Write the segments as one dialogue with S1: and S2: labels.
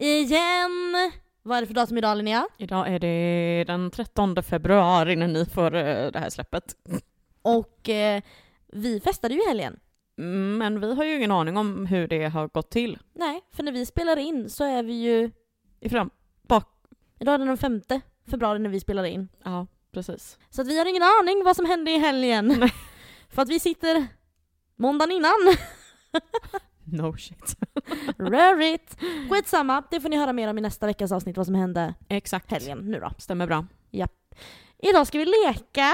S1: igen! Vad är det för datum idag Linnea?
S2: Idag är det den 13 februari när ni får eh, det här släppet.
S1: Och eh, vi festade ju i helgen.
S2: Men vi har ju ingen aning om hur det har gått till.
S1: Nej, för när vi spelar in så är vi ju...
S2: I fram... Bak...
S1: Idag är det den 5 februari när vi spelar in.
S2: Ja, precis.
S1: Så att vi har ingen aning vad som hände i helgen. för att vi sitter måndagen innan.
S2: No shit.
S1: Rörigt! Skitsamma, det får ni höra mer om i nästa veckas avsnitt vad som hände
S2: Exakt.
S1: helgen nu då.
S2: Stämmer bra.
S1: Idag ska vi leka.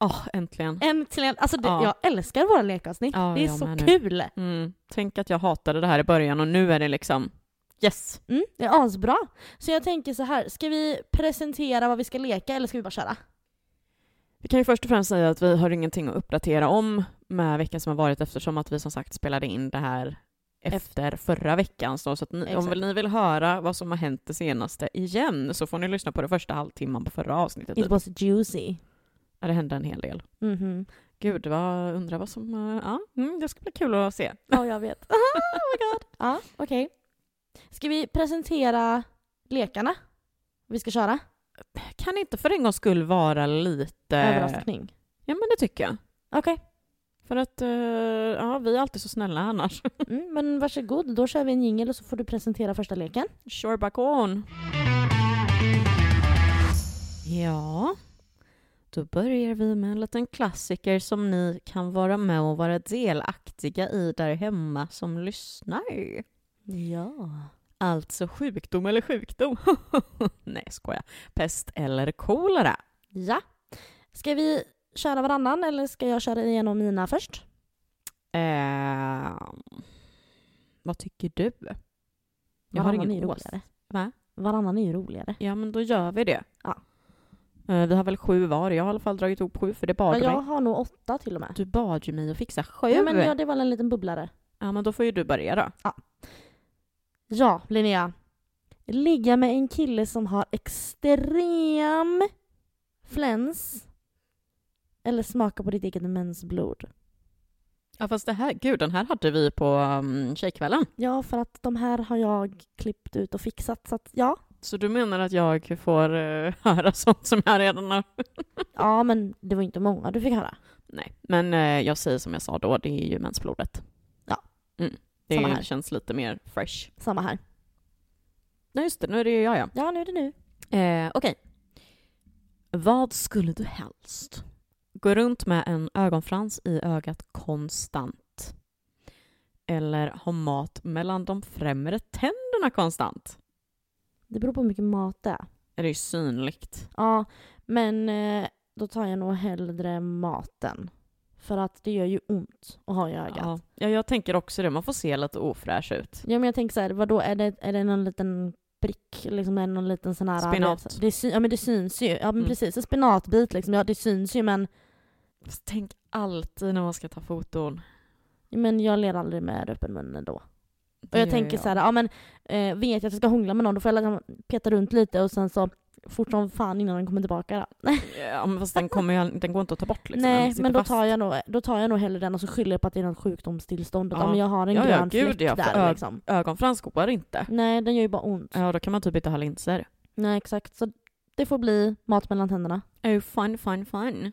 S2: Åh, äntligen.
S1: Äntligen! Alltså det,
S2: Ja.
S1: jag älskar våra lekavsnitt.
S2: Ja,
S1: det är
S2: jag
S1: så
S2: med nu.
S1: kul!
S2: Mm. Tänk att jag hatade det här i början och nu är det liksom yes.
S1: Mm, det är asbra. Så jag tänker så här, ska vi presentera vad vi ska leka eller ska vi bara köra?
S2: Vi kan ju först och främst säga att vi har ingenting att uppdatera om med veckan som har varit eftersom att vi som sagt spelade in det här efter förra veckan. Så så att ni, om
S1: Exakt.
S2: väl ni vill höra vad som har hänt det senaste igen så får ni lyssna på den första halvtimman på förra avsnittet.
S1: It
S2: Typ.
S1: was juicy.
S2: Ja, det hände en hel del.
S1: Mhm.
S2: Gud, vad, undrar vad som... eh, Ja, mm, det ska bli kul att se.
S1: Ja, jag vet. oh my god. Ja, okej. Ska vi presentera lekarna? Vi ska köra?
S2: Kan inte för en gångs skull vara lite...
S1: Överraskning.
S2: Ja, men det tycker jag.
S1: Okej.
S2: För att eh, ja, vi är alltid så snälla annars.
S1: Mm, men varsågod, då kör vi en jingel och så får du presentera första leken.
S2: Sure back on. Ja, då börjar vi med en liten klassiker som ni kan vara med och vara delaktiga i där hemma som lyssnar.
S1: Ja.
S2: Alltså sjukdom eller sjukdom? Nej, skoja. Pest eller kolera?
S1: Ja. Ska vi köra varannan eller ska jag köra igenom mina först?
S2: Ehm, vad tycker du? Jag har
S1: Varannan är
S2: ingen
S1: ju
S2: åsikt.
S1: roligare.
S2: Va?
S1: Varannan är ju roligare.
S2: Ja, men då gör vi det.
S1: Ja.
S2: Eh, vi har väl sju var. Jag har i alla fall dragit ihop sju för det bad
S1: Ja,
S2: du
S1: jag
S2: mig.
S1: har nog åtta till och med.
S2: Du bad ju mig att fixa sju.
S1: Ja, men ja, det var en liten bubblare.
S2: Ja, men då får ju du börja då.
S1: Ja, Linnea. Ligga med en kille som har extrem fläns eller smaka på ditt eget mensblod.
S2: Ja, fast det här, gud, den här hade vi på um, tjejkvällen.
S1: Ja, för att de här har jag klippt ut och fixat, så att ja.
S2: Så du menar att jag får eh, höra sånt som jag redan har?
S1: Ja, men det var inte många du fick höra.
S2: Nej, men eh, jag säger som jag sa då, det är ju mensblodet.
S1: Ja.
S2: Mm. Det
S1: Samma här.
S2: känns lite mer fresh.
S1: Samma här.
S2: Nej, just det, nu är det ju jag ja.
S1: Ja, nu är det nu.
S2: Eh, Okej. Vad skulle du helst? Gå runt med en ögonfrans i ögat konstant. Eller ha mat mellan de främre tänderna konstant.
S1: Det beror på hur mycket mat det är.
S2: Det är ju synligt.
S1: Ja, men eh, då tar jag nog hellre maten. För att det gör ju ont att ha i ögat.
S2: Ja, ja, jag tänker också det. Man får se lite ofräsch ut.
S1: Ja men jag tänker så här, vadå, är det, är det någon liten prick? Liksom, är det någon liten sån här...
S2: Spinat.
S1: Det, sy- ja men det syns ju. Ja men
S2: Mm.
S1: precis, en spinatbit liksom. Ja det syns ju men,
S2: Fast Tänk alltid när man ska ta foton.
S1: men jag ler aldrig med öppen mun ändå.
S2: Det
S1: Och jag
S2: gör
S1: tänker så här, ja men eh, vet jag att jag ska hångla med någon då får jag liksom peta runt lite och sen så fort som fan innan den kommer tillbaka då.
S2: Ja, men fast den, kommer ju, den går inte att ta bort liksom. Den
S1: Nej
S2: sitter
S1: men då
S2: fast.
S1: tar, jag nog, då tar jag nog hellre den och så skyller jag på att det är något sjukdomstillstånd. Att,
S2: Ja.
S1: Ja. men jag har en
S2: Ja, ja,
S1: grön
S2: gud,
S1: fläck
S2: ja, för
S1: där
S2: ö-
S1: liksom.
S2: Ögonfrans går inte.
S1: Nej den gör ju bara ont.
S2: Ja, då kan man typ inte ha linser.
S1: Nej exakt, så det får bli mat mellan tänderna.
S2: Oh, fun, fun, fun.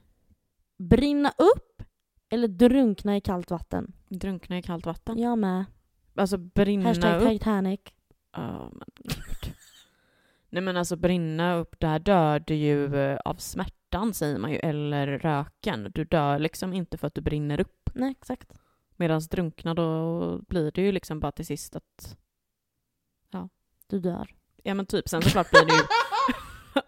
S1: Brinna upp eller drunkna i kallt vatten?
S2: Drunkna i kallt vatten.
S1: Jag med.
S2: Alltså brinna
S1: Hashtag
S2: upp.
S1: Titanic.
S2: Ja, men gud. Nej men alltså brinna upp, där dör du ju eh, av smärtan säger man ju, eller röken. Du dör liksom inte för att du brinner upp.
S1: Nej, exakt.
S2: Medan drunkna då blir det ju liksom bara till sist att,
S1: Du dör.
S2: ja men typ, sen såklart blir det ju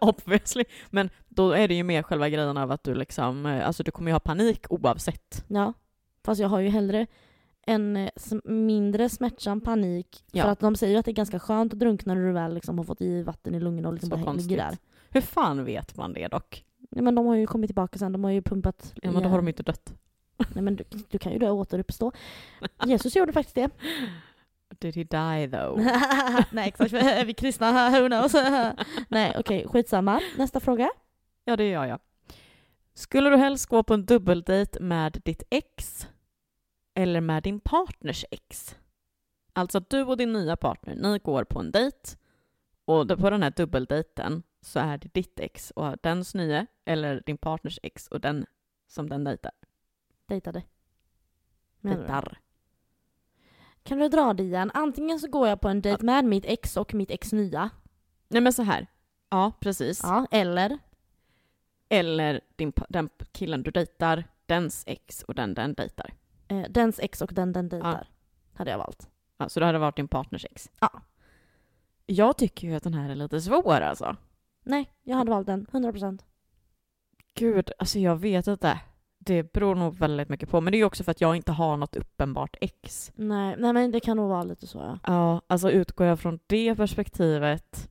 S2: obviously, men då är det ju mer själva grejen av att du liksom, eh, alltså du kommer ju ha panik oavsett.
S1: Ja. Fast jag har ju hellre en eh, sm- mindre smärtsam panik.
S2: Ja.
S1: För att de säger ju att det är ganska skönt att drunkna när du väl liksom har fått i vatten i lungorna och liksom
S2: Så
S1: bara
S2: konstigt.
S1: ligger där.
S2: Hur fan vet man det dock?
S1: Nej, men de har ju kommit tillbaka sen, de har ju pumpat.
S2: Ja men då
S1: igen.
S2: har de ju inte dött.
S1: Nej, men du, du kan ju dö och återuppstå. Jesus gjorde faktiskt det.
S2: Did he die though?
S1: Nej exakt, är vi kristna? Who knows? Nej okej, skitsamma. Nästa fråga.
S2: Ja, det gör jag. Skulle du helst gå på en dubbeldejt med ditt ex eller med din partners ex? Alltså att du och din nya partner, ni går på en dejt Och då på den här dubbeldejten så är det ditt ex och dens nya eller din partners ex och den som den dejtar.
S1: Dejtade. Menar du?
S2: dejtar.
S1: Kan du dra det igen? Antingen så går jag på en dejt med mitt ex och mitt ex nya.
S2: Nej men så här. Ja, precis.
S1: Ja, eller?
S2: Eller din, pa- den killen du dejtar, dens ex och den den dejtar.
S1: Eh, dens ex och den den dejtar. Hade jag valt.
S2: Ja, så det hade varit din partners ex.
S1: Ja.
S2: Jag tycker ju att den här är lite svår alltså.
S1: Nej, jag hade valt den. 100%.
S2: Gud, alltså jag vet inte. Det beror nog väldigt mycket på. Men det är ju också för att jag inte har något uppenbart ex.
S1: Nej, nej men det kan nog vara lite så ja.
S2: Ja, alltså utgår jag från det perspektivet.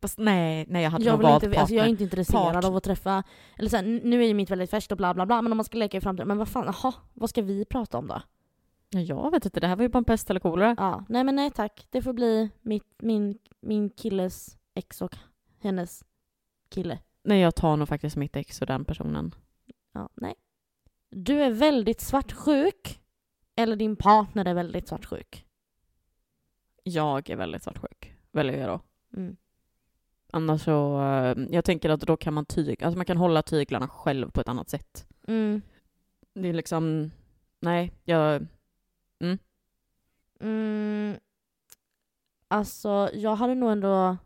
S2: Fast nej, nej jag hade
S1: Jag,
S2: nog
S1: vill
S2: valt
S1: inte,
S2: partner.
S1: alltså jag är inte intresserad
S2: Part-
S1: av att träffa, eller så här, nu är ju mitt väldigt färskt och bla bla bla, men om man ska leka i framtiden, men vad fan, jaha, vad ska vi prata om då?
S2: Jag vet inte, det här var ju bara en pest eller kolera.
S1: Ja, nej men nej tack, det får bli mitt, min, min killes ex och hennes kille.
S2: Nej, jag tar nog faktiskt mitt ex och den personen.
S1: Ja, nej. Du är väldigt svartsjuk, eller din partner är väldigt svartsjuk.
S2: Jag är väldigt svartsjuk, väljer jag då.
S1: Mm.
S2: Annars så, eh, jag tänker att då kan man tyg, alltså man kan hålla tyglarna själv på ett annat sätt.
S1: Mm.
S2: Det är liksom, nej, jag,
S1: Mm. Alltså, jag hade nog ändå...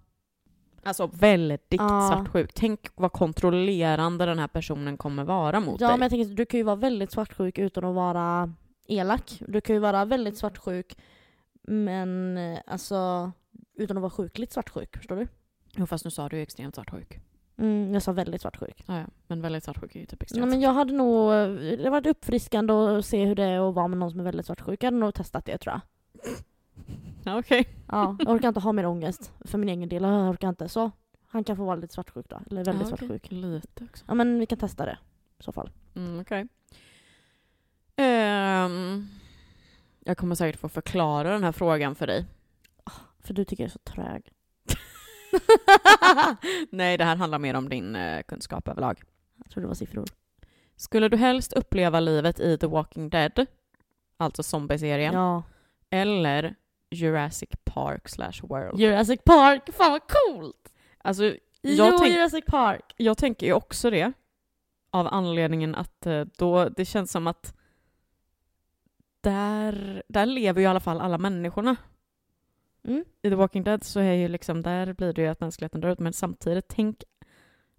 S2: alltså väldigt
S1: Ja.
S2: svartsjuk. Tänk vad kontrollerande den här personen kommer vara mot
S1: Ja,
S2: dig.
S1: men jag tänker, du kan ju vara väldigt svartsjuk utan att vara elak. Du kan ju vara väldigt svartsjuk, men eh, alltså utan att vara sjukligt svartsjuk. Förstår du?
S2: Jo, fast nu sa du ju extremt svartsjuk.
S1: Mm, jag sa väldigt svartsjuk.
S2: Ja, ja. men väldigt svartsjuk är ju typ extremt
S1: Nej, men jag hade nog... eh, Det har varit uppfriskande att se hur det är att vara med någon som är väldigt svartsjuk. Jag hade nog testat det tror jag.
S2: Ja, Okej.
S1: Ja, jag orkar inte ha mer ångest för min egen del. Jag orkar inte. Så han kan få vara lite svartsjuk då. Eller väldigt
S2: Ja, okej.
S1: svartsjuk.
S2: Lite också.
S1: Ja, men vi kan testa det i så fall.
S2: Mm, okej. Ehm, jag kommer säkert få förklara den här frågan för dig.
S1: För du tycker jag är så trög.
S2: Nej, det här handlar mer om din eh, kunskap överlag.
S1: Jag tror det var siffror.
S2: Skulle du helst uppleva livet i The Walking Dead, alltså zombieserien,
S1: Ja.
S2: eller Jurassic Park slash World?
S1: Jurassic Park, fan vad coolt!
S2: Alltså,
S1: Jag
S2: jag, tänk,
S1: Jurassic Park!
S2: jag tänker ju också det, av anledningen att eh, då, det känns som att där, där lever ju i alla fall alla människorna.
S1: Mm.
S2: i The Walking Dead så är ju liksom, där blir det ju att mänskligheten dör ut, men samtidigt tänk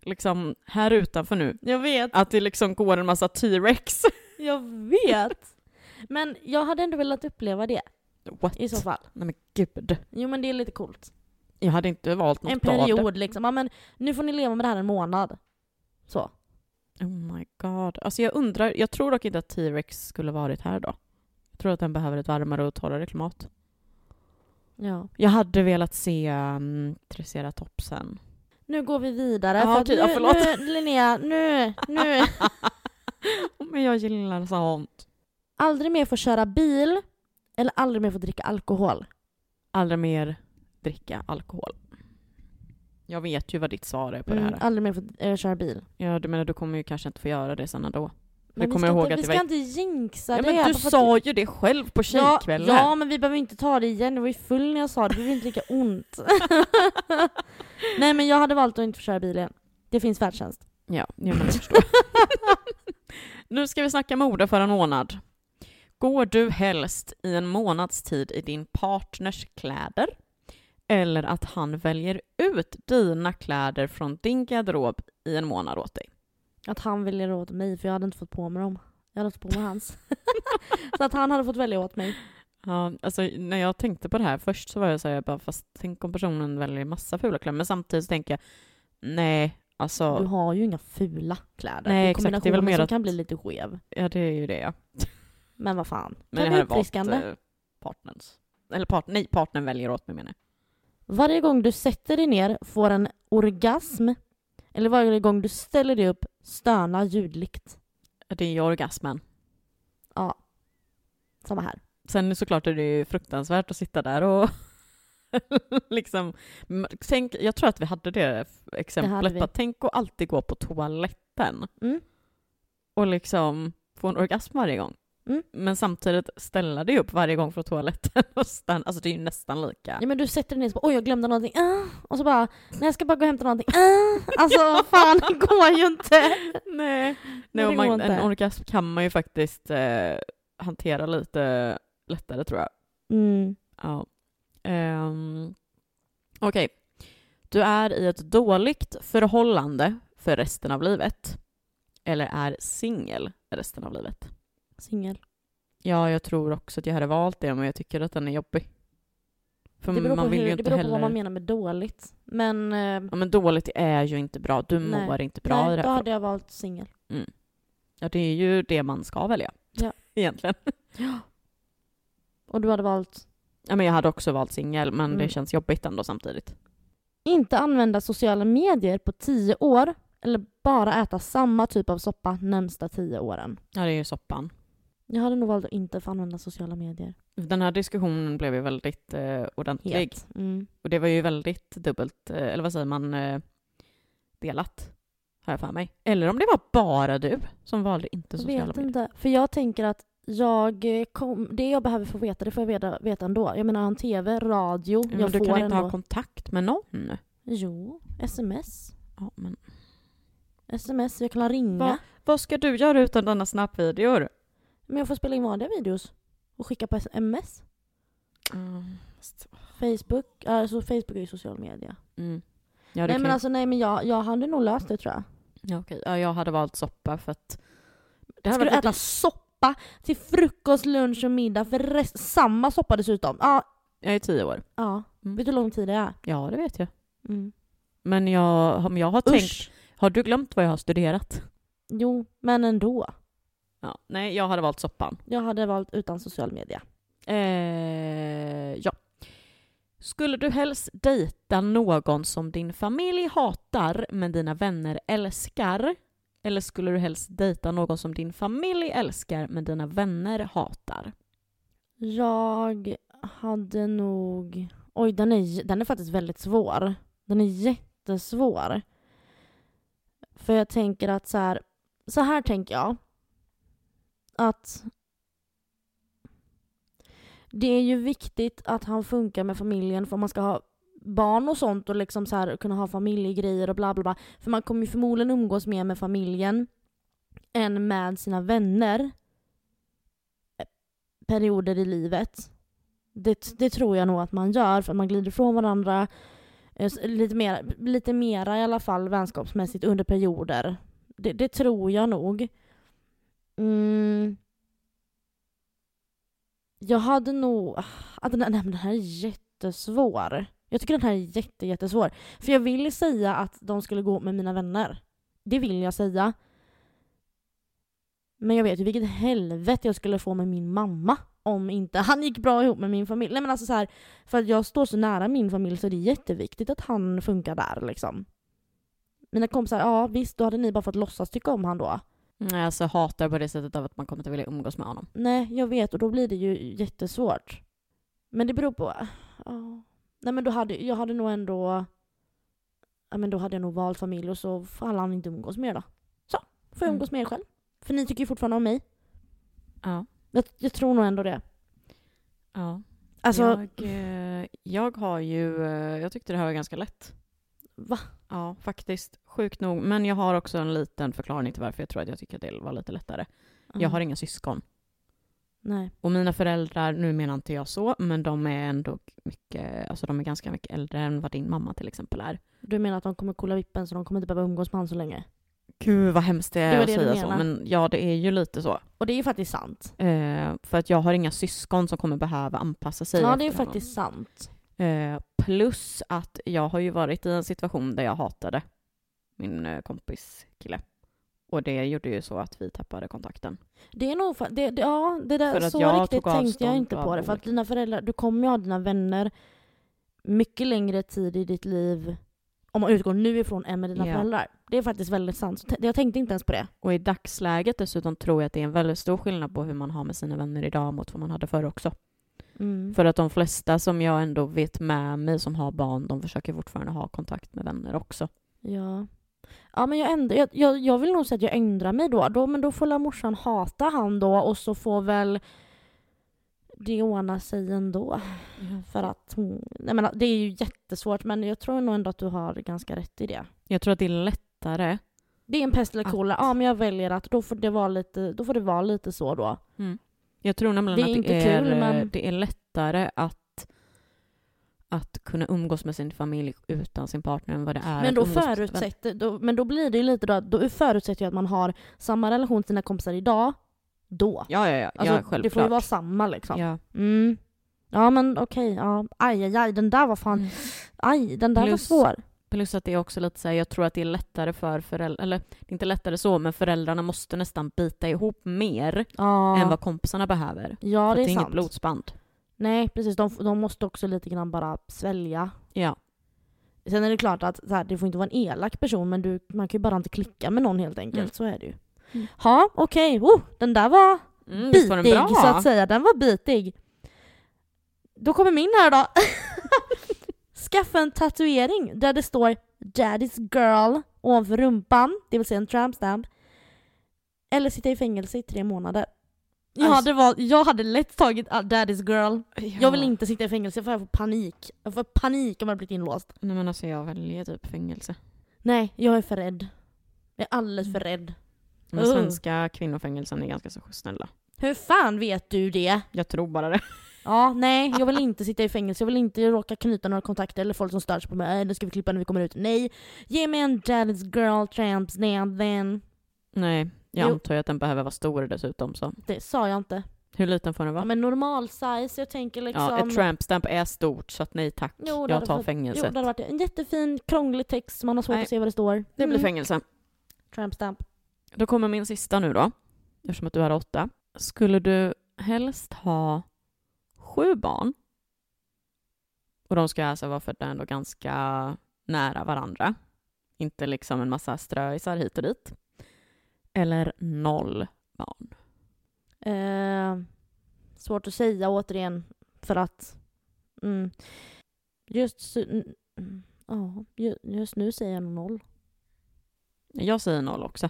S2: liksom här utanför nu,
S1: Jag vet,
S2: att det liksom går en massa T-Rex.
S1: jag vet! Men jag hade ändå velat uppleva det
S2: What?
S1: i så fall.
S2: Nej men gud.
S1: Jo men det är lite coolt.
S2: Jag hade inte valt något
S1: En
S2: av det.
S1: period liksom. Ja, men nu får ni leva med det här en månad. Så.
S2: Oh my god. Alltså jag undrar, jag tror dock inte att T-Rex skulle varit här då. Jag tror att den behöver ett varmare och torrare klimat.
S1: Ja.
S2: Jag hade velat se um, Triceratopsen.
S1: Nu går vi vidare.
S2: Ja,
S1: för att
S2: okej, ja,
S1: nu,
S2: förlåt.
S1: nu, Linnea, nu, nu.
S2: Men jag gillar sånt.
S1: aldrig mer få köra bil eller aldrig mer få dricka alkohol.
S2: Aldrig mer dricka alkohol. Jag vet ju vad ditt svar är på det
S1: Mm,
S2: här.
S1: aldrig mer få eh, köra bil.
S2: Ja, du menar du kommer ju kanske inte få göra det sen ändå.
S1: Men vi
S2: kommer
S1: ska
S2: jag ihåg
S1: inte,
S2: att
S1: Vi
S2: det
S1: ska
S2: var-
S1: inte jinxa
S2: Ja,
S1: det.
S2: men du
S1: bara för att-
S2: sa ju det själv på tjejkvällen.
S1: Ja, ja, men vi behöver inte ta det igen. Det var ju full när jag sa det. Det behöver inte lika ont. Nej, men jag hade valt att inte få köra bil igen. Det finns färdtjänst.
S2: ja, ja men jag förstår. nu ska vi snacka mode för en månad. Går du helst i en månads tid i din partners kläder? Eller att han väljer ut dina kläder från din garderob i en månad åt dig?
S1: Att han ville göra åt mig, för jag hade inte fått på mig dem. Jag hade inte fått på mig hans. så att han hade fått välja åt mig.
S2: Ja, alltså när jag tänkte på det här först så var jag så här, jag bara fast tänk om personen väljer massa fula kläder. Men samtidigt så tänker jag, nej, alltså.
S1: Du har ju inga fula kläder.
S2: Nej,
S1: Det är
S2: exakt. Det är väl
S1: kombinationen
S2: mer
S1: som
S2: att-
S1: kan bli lite skev.
S2: Ja, det är ju det ja.
S1: Men vad fan.
S2: Men
S1: kan
S2: jag
S1: bli
S2: hade valt
S1: uppfriskande.
S2: eh, partners. Eller part, nej, partnern väljer åt mig menar jag.
S1: Varje gång du sätter dig ner får en orgasm. Eller varje gång du ställer dig upp stöna ljudligt.
S2: Det är ju orgasmen.
S1: Ja. Samma här.
S2: Sen såklart är det ju fruktansvärt att sitta där och liksom... m- Tänk, jag tror att vi hade det f- exemplet.
S1: hade vi.
S2: bara, tänk att alltid gå på toaletten
S1: Mm.
S2: och liksom få en orgasm varje gång.
S1: Mm.
S2: Men samtidigt ställa dig upp varje gång från toaletten och stanna. Alltså det är ju nästan lika.
S1: Ja men du sätter dig ner och så bara oj jag glömde någonting, ah. och så bara nej jag ska bara gå och hämta någonting, ah. Alltså fan det går ju inte.
S2: Nej,
S1: det
S2: Nej och
S1: går
S2: man,
S1: inte.
S2: en orgasm kan man ju faktiskt eh, hantera lite lättare tror jag.
S1: Mm.
S2: Ja. Ehm, Okej. Du är i ett dåligt förhållande för resten av livet. Eller är singel resten av livet.
S1: Singel.
S2: Ja, jag tror också att jag hade valt det, men jag tycker att den är jobbig. För
S1: Det beror, på,
S2: Mm, man vill
S1: hur,
S2: ju
S1: det
S2: inte
S1: beror
S2: heller...
S1: på vad man menar med dåligt. Men eh,
S2: Ja, men dåligt är ju inte bra. Du
S1: Nej.
S2: mår inte bra i
S1: nej,
S2: det
S1: då
S2: här.
S1: hade jag valt singel.
S2: Ja, det är ju det man ska välja.
S1: Ja.
S2: Egentligen.
S1: Och du hade valt
S2: Ja, men jag hade också valt singel, men
S1: Mm.
S2: det känns jobbigt ändå samtidigt.
S1: inte använda sociala medier på tio år eller bara äta samma typ av soppa närmsta tio åren.
S2: Ja, det är ju soppan.
S1: Jag hade nog valt att inte få använda sociala medier.
S2: Den här diskussionen blev ju väldigt eh, ordentlig.
S1: Helt. Mm.
S2: Och det var ju väldigt dubbelt, eh, eller vad säger man, eh, delat. Har jag för mig. Eller om det var bara du som valde inte
S1: Jag
S2: sociala
S1: vet
S2: medier.
S1: inte. För jag tänker att jag eh, kom, det jag behöver få veta, det får jag veta, veta ändå. Jag menar, jag har en tv, radio,
S2: Men
S1: jag
S2: Mm, du
S1: får
S2: kan inte
S1: ändå.
S2: ha kontakt med någon.
S1: jo, sms.
S2: Ja, men.
S1: Sms, jag kan ringa.
S2: Va? Vad ska du göra utan denna snappvideor?
S1: Men jag får spela in vanliga videos och skicka på sms. Mm. Facebook, alltså Facebook är ju social media.
S2: Mm. Ja, det
S1: nej
S2: kan
S1: men
S2: ju-
S1: alltså nej men jag, jag hade nog löst det tror jag.
S2: ja, okej. ja, jag hade valt soppa för att... Det typ-
S1: Ska du äta soppa till frukost, lunch och middag för rest, samma soppa dessutom? Ja,
S2: Jag är tio år.
S1: ja.
S2: Mm.
S1: Vet du hur lång tid det är?
S2: Ja, det vet jag. Men jag, om jag har tänkt...
S1: Usch!
S2: Har du glömt vad jag har studerat?
S1: Jo, men ändå.
S2: Ja. Nej, jag hade valt soppan.
S1: Jag hade valt utan social media.
S2: Eh, ja. Skulle du helst dejta någon som din familj hatar men dina vänner älskar? Eller skulle du helst dejta någon som din familj älskar men dina vänner hatar?
S1: Jag hade nog... Oj, den är, j- den är faktiskt väldigt svår. Den är jättesvår. För jag tänker att så här... Så här tänker jag. Att... Det är ju viktigt att han funkar med familjen för om man ska ha barn och sånt och liksom så här, kunna ha familjegrejer och bla bla bla. För man kommer ju förmodligen umgås mer med familjen än med sina vänner perioder i livet. Det, det tror jag nog att man gör för att man glider ifrån varandra eh, s- lite, mer, lite mera i alla fall vänskapsmässigt under perioder. Det, det tror jag nog. Mm. Jag hade nog... ah, att den, här- nej, men den här är jättesvår. Jag tycker den här är jätte, jättesvår. För jag vill säga att de skulle gå med mina vänner. Det vill jag säga. Men jag vet ju vilket helvete jag skulle få med min mamma om inte han gick bra ihop med min familj. Nej men alltså så här, för att jag står så nära min familj så är det jätteviktigt att han funkar där liksom. Mina kompisar, ja visst då hade ni bara fått låtsas tycka om han då.
S2: Nej, alltså hatar på det sättet av att man kommer inte vilja umgås med honom.
S1: Nej jag vet och då blir det ju jättesvårt. Men det beror på, ja. Nej men då hade jag hade nog ändå, ja men då hade jag nog valt familj och så får han inte umgås med er då. Så, får jag
S2: Mm.
S1: umgås med er själv. För ni tycker ju fortfarande om mig.
S2: Ja.
S1: Jag, jag tror nog ändå det.
S2: ja.
S1: Alltså,
S2: jag, eh, jag har ju... eh, Jag tyckte det här var ganska lätt.
S1: Va?
S2: Ja, faktiskt. Sjukt nog. Men jag har också en liten förklaring till varför jag tror att jag tycker att det var lite lättare. Jag har inga syskon.
S1: Nej.
S2: Och mina föräldrar, nu menar inte jag så, men de är ändå mycket, alltså de är ganska mycket äldre än vad din mamma till exempel är.
S1: Du menar att de kommer kolla vippen så de kommer inte behöva umgås med han så länge?
S2: Gud vad hemskt det
S1: Det
S2: är
S1: var
S2: att
S1: det du
S2: säga så,
S1: menar.
S2: men ja det är ju lite så.
S1: Och det är ju faktiskt sant.
S2: Eh, för att jag har inga syskon som kommer behöva anpassa sig.
S1: ja,
S2: efter
S1: det är
S2: honom.
S1: faktiskt sant.
S2: Eh, plus att jag har ju varit i en situation där jag hatade min eh, kompis kille. Och det gjorde ju så att vi tappade kontakten.
S1: Det är nog fa- det, det, ja, det
S2: För
S1: där,
S2: att
S1: så
S2: jag
S1: riktigt
S2: tog
S1: tänkte jag
S2: avstånd
S1: inte på
S2: av
S1: det. För att dina föräldrar, du kommer ju ha dina vänner mycket längre tid i ditt liv om man utgår nu ifrån än med dina
S2: Ja.
S1: föräldrar. Det är faktiskt väldigt sant. Så t- Jag tänkte inte ens på det.
S2: Och i dagsläget dessutom tror jag att det är en väldigt stor skillnad på hur man har med sina vänner idag mot vad man hade förr också.
S1: Mm.
S2: För att de flesta som jag ändå vet med mig som har barn, de försöker fortfarande ha kontakt med vänner också.
S1: Ja. Ja men jag, ändrar, jag, jag, jag vill nog säga att jag ändrar mig då. då men då får la morsan hata han då och så får väl det ordna sig ändå.
S2: Mm.
S1: För att hon... Jag menar, det är ju jättesvårt men jag tror nog ändå att du har ganska rätt i det.
S2: Jag tror att det är lättare.
S1: Det är en pest eller kolera.
S2: Att-
S1: Ja men jag väljer att då får det vara lite, då får det vara lite så då.
S2: Jag tror nämligen
S1: Det är
S2: att det
S1: inte
S2: är,
S1: kul, men-
S2: det är lättare att, att kunna umgås med sin familj utan sin partner än vad det är
S1: Men
S2: att
S1: då,
S2: umgås med sin vän.
S1: förutsätter, då, men då blir det ju lite då, att- då förutsätter jag att man har samma relation till sina kompisar idag, då.
S2: Ja, ja, ja.
S1: Alltså,
S2: ja självklart.
S1: det får ju vara samma liksom. Ja,
S2: ja.
S1: mm. ja men okej, ja. aj, aj, aj den där var fan,
S2: Mm.
S1: aj den där var
S2: Plus-
S1: svår.
S2: Plus att det är också lite så här, jag tror att det är lättare för föräldrar, eller det är inte lättare så, men föräldrarna måste nästan bita ihop mer
S1: Ja,
S2: än vad kompisarna behöver.
S1: ja
S2: för
S1: det är
S2: att det är
S1: sant.
S2: inget blodsband.
S1: Nej precis, de, de måste också lite grann bara svälja.
S2: Ja.
S1: Sen är det klart att så här, det får inte vara en elak person men du, man kan ju bara inte klicka med någon helt enkelt,
S2: Mm.
S1: så är det ju.
S2: Mm.
S1: Ja, okej, oh, den där var
S2: Mm, visst var den
S1: bitig
S2: bra?
S1: så att säga. Den var bitig. Då kommer min här då. Skaffa en tatuering där det står “Daddy's girl” ovanför rumpan, det vill säga en tramp stamp. Eller sitta i fängelse i tre månader. Jag,
S2: Alltså-
S1: hade, val- jag hade lätt tagit ah, “Daddy's girl”. Jag vill
S2: Ja.
S1: inte sitta i fängelse för jag får panik. Jag får panik om jag blivit inlåst.
S2: Nej men alltså jag väljer typ fängelse.
S1: Nej, jag är för rädd. Jag är alldeles
S2: Mm.
S1: för rädd.
S2: Men
S1: Uh.
S2: svenska kvinnofängelsen är ganska så snälla.
S1: Hur fan vet du det?
S2: Jag tror bara det.
S1: Ja, nej, jag vill inte sitta i fängelse. Jag vill inte råka knyta några kontakter eller folk som störs på mig. "Äh, Nu ska vi klippa när vi kommer ut. Nej, ge mig en daddy's girl tramps now then.
S2: Nej, jag
S1: Jo.
S2: antar ju att den behöver vara stor dessutom så.
S1: Det sa jag inte.
S2: Hur liten får den
S1: Ja,
S2: vara?
S1: men normal size, jag tänker liksom...
S2: Ja, ett tramp stamp är stort så att nej tack.
S1: Jo, det hade
S2: jag tar
S1: varit- jo, det
S2: fängelset.
S1: hade varit en jättefin krånglig text som man har svårt
S2: Nej.
S1: att se vad det står.
S2: Det blir
S1: Mm,
S2: fängelse.
S1: Tramp stamp.
S2: Då kommer min sista nu då. Eftersom att du har åtta. Skulle du helst ha sju barn? Och de ska alltså vara födda ändå ganska nära varandra. Inte liksom en massa ströisar hit och dit. Eller noll barn.
S1: Eh, svårt att säga återigen, för att... Mm, just... så- mm, mm, Ja, ju- just nu säger jag nog noll.
S2: Jag säger noll också.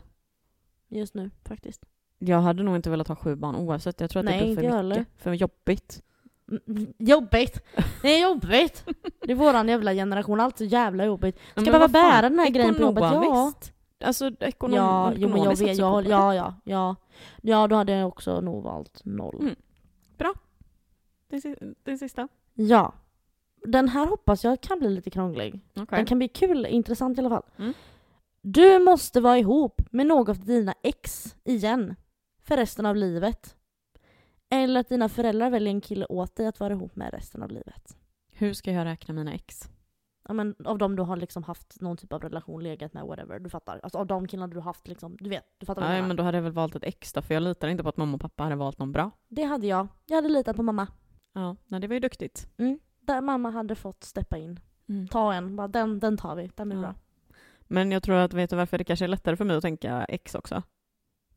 S1: Just nu, faktiskt.
S2: Jag hade nog inte velat ha sju barn oavsett. Jag tror att
S1: Nej,
S2: det blir
S1: inte
S2: för
S1: jag
S2: mycket.
S1: heller.
S2: För jobbigt.
S1: Mm, Jobbigt! Det är jobbigt! Det är våran jävla generation, allt så jävla jobbigt. Ska
S2: Men
S1: behöva
S2: vad fan,
S1: bära den här grejen på jobbet? Ja,
S2: ekonomiskt. Alltså ekonom,
S1: ja, jo, men jag
S2: ekonomiskt
S1: vet,
S2: satsar på
S1: jag,
S2: det.
S1: ja, ja, ja. Ja, då hade jag också nog valt noll.
S2: Mm. Den si- Den sista.
S1: Ja. Den här hoppas jag kan bli lite krånglig.
S2: Okej.
S1: Den kan bli kul, intressant i alla fall.
S2: Mm.
S1: Du måste vara ihop med något av dina ex igen. För resten av livet. Eller att dina föräldrar väljer en kille åt dig att vara ihop med resten av livet.
S2: Hur ska jag räkna mina ex?
S1: ja, men av dem du har liksom haft någon typ av relation, legat med, whatever. Du fattar. Alltså av de killarna du har haft liksom, du vet, du fattar vad jag
S2: Nej,
S1: menar.
S2: men då hade jag väl valt ett ex då, för jag litar inte på att mamma och pappa hade valt någon bra.
S1: Det hade jag. Jag hade litat på mamma.
S2: Ja, nej, det var ju duktigt.
S1: Där mamma hade fått steppa in. Ta en, bara den, den tar vi, den är
S2: Ja.
S1: bra.
S2: Men jag tror att, vet du varför det kanske är lättare för mig att tänka ex också?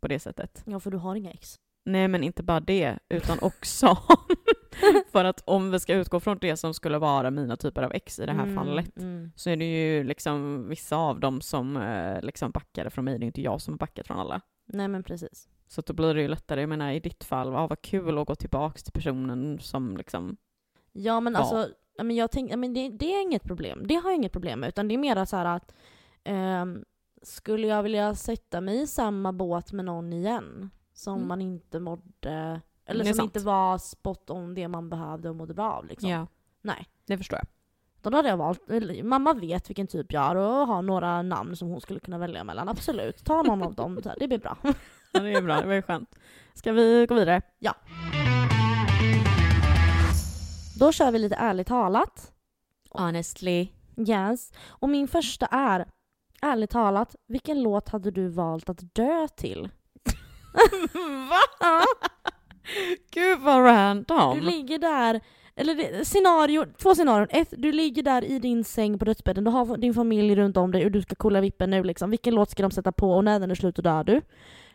S2: På det sättet.
S1: Ja för du har inga ex.
S2: Nej, men inte bara det, utan också för att om vi ska utgå från det som skulle vara mina typer av ex i det här
S1: Mm,
S2: fallet,
S1: Mm.
S2: så är det ju liksom vissa av dem som eh, liksom backade från mig, det är inte jag som har backat från alla.
S1: Nej men precis.
S2: Så att då blir det ju lättare, jag menar i ditt fall, ah, vad kul att gå tillbaks till personen som liksom,
S1: Ja men
S2: Ja.
S1: alltså, ja, men jag tänk, ja, men det, det är inget problem. Det har jag inget problem med. Utan det är mera så här att ehm, skulle jag vilja sätta mig i samma båt med någon igen? Som
S2: Mm.
S1: man inte mådde, eller
S2: Det är
S1: som
S2: sant.
S1: inte var spot on det man behövde och mådde bra av liksom. Nej.
S2: det förstår jag.
S1: Då hade jag valt, eller, mamma vet vilken typ jag är och har några namn som hon skulle kunna välja mellan. Absolut, ta någon av dem, så här, det blir bra.
S2: Ja, det är bra. Det var ju skönt. Ska vi gå vidare?
S1: Då kör vi lite ärligt talat.
S2: Honestly.
S1: Yes. Och min första är, ärligt talat, vilken låt hade du valt att dö till?
S2: Va? Gud vad random.
S1: Du ligger där, eller det- scenario, två scenarion. Ett, du ligger där i din säng på dödsbädden, du har din familj runt om dig och du ska kolla vippen nu liksom. Vilken låt ska de sätta på och när den är slut och dör du?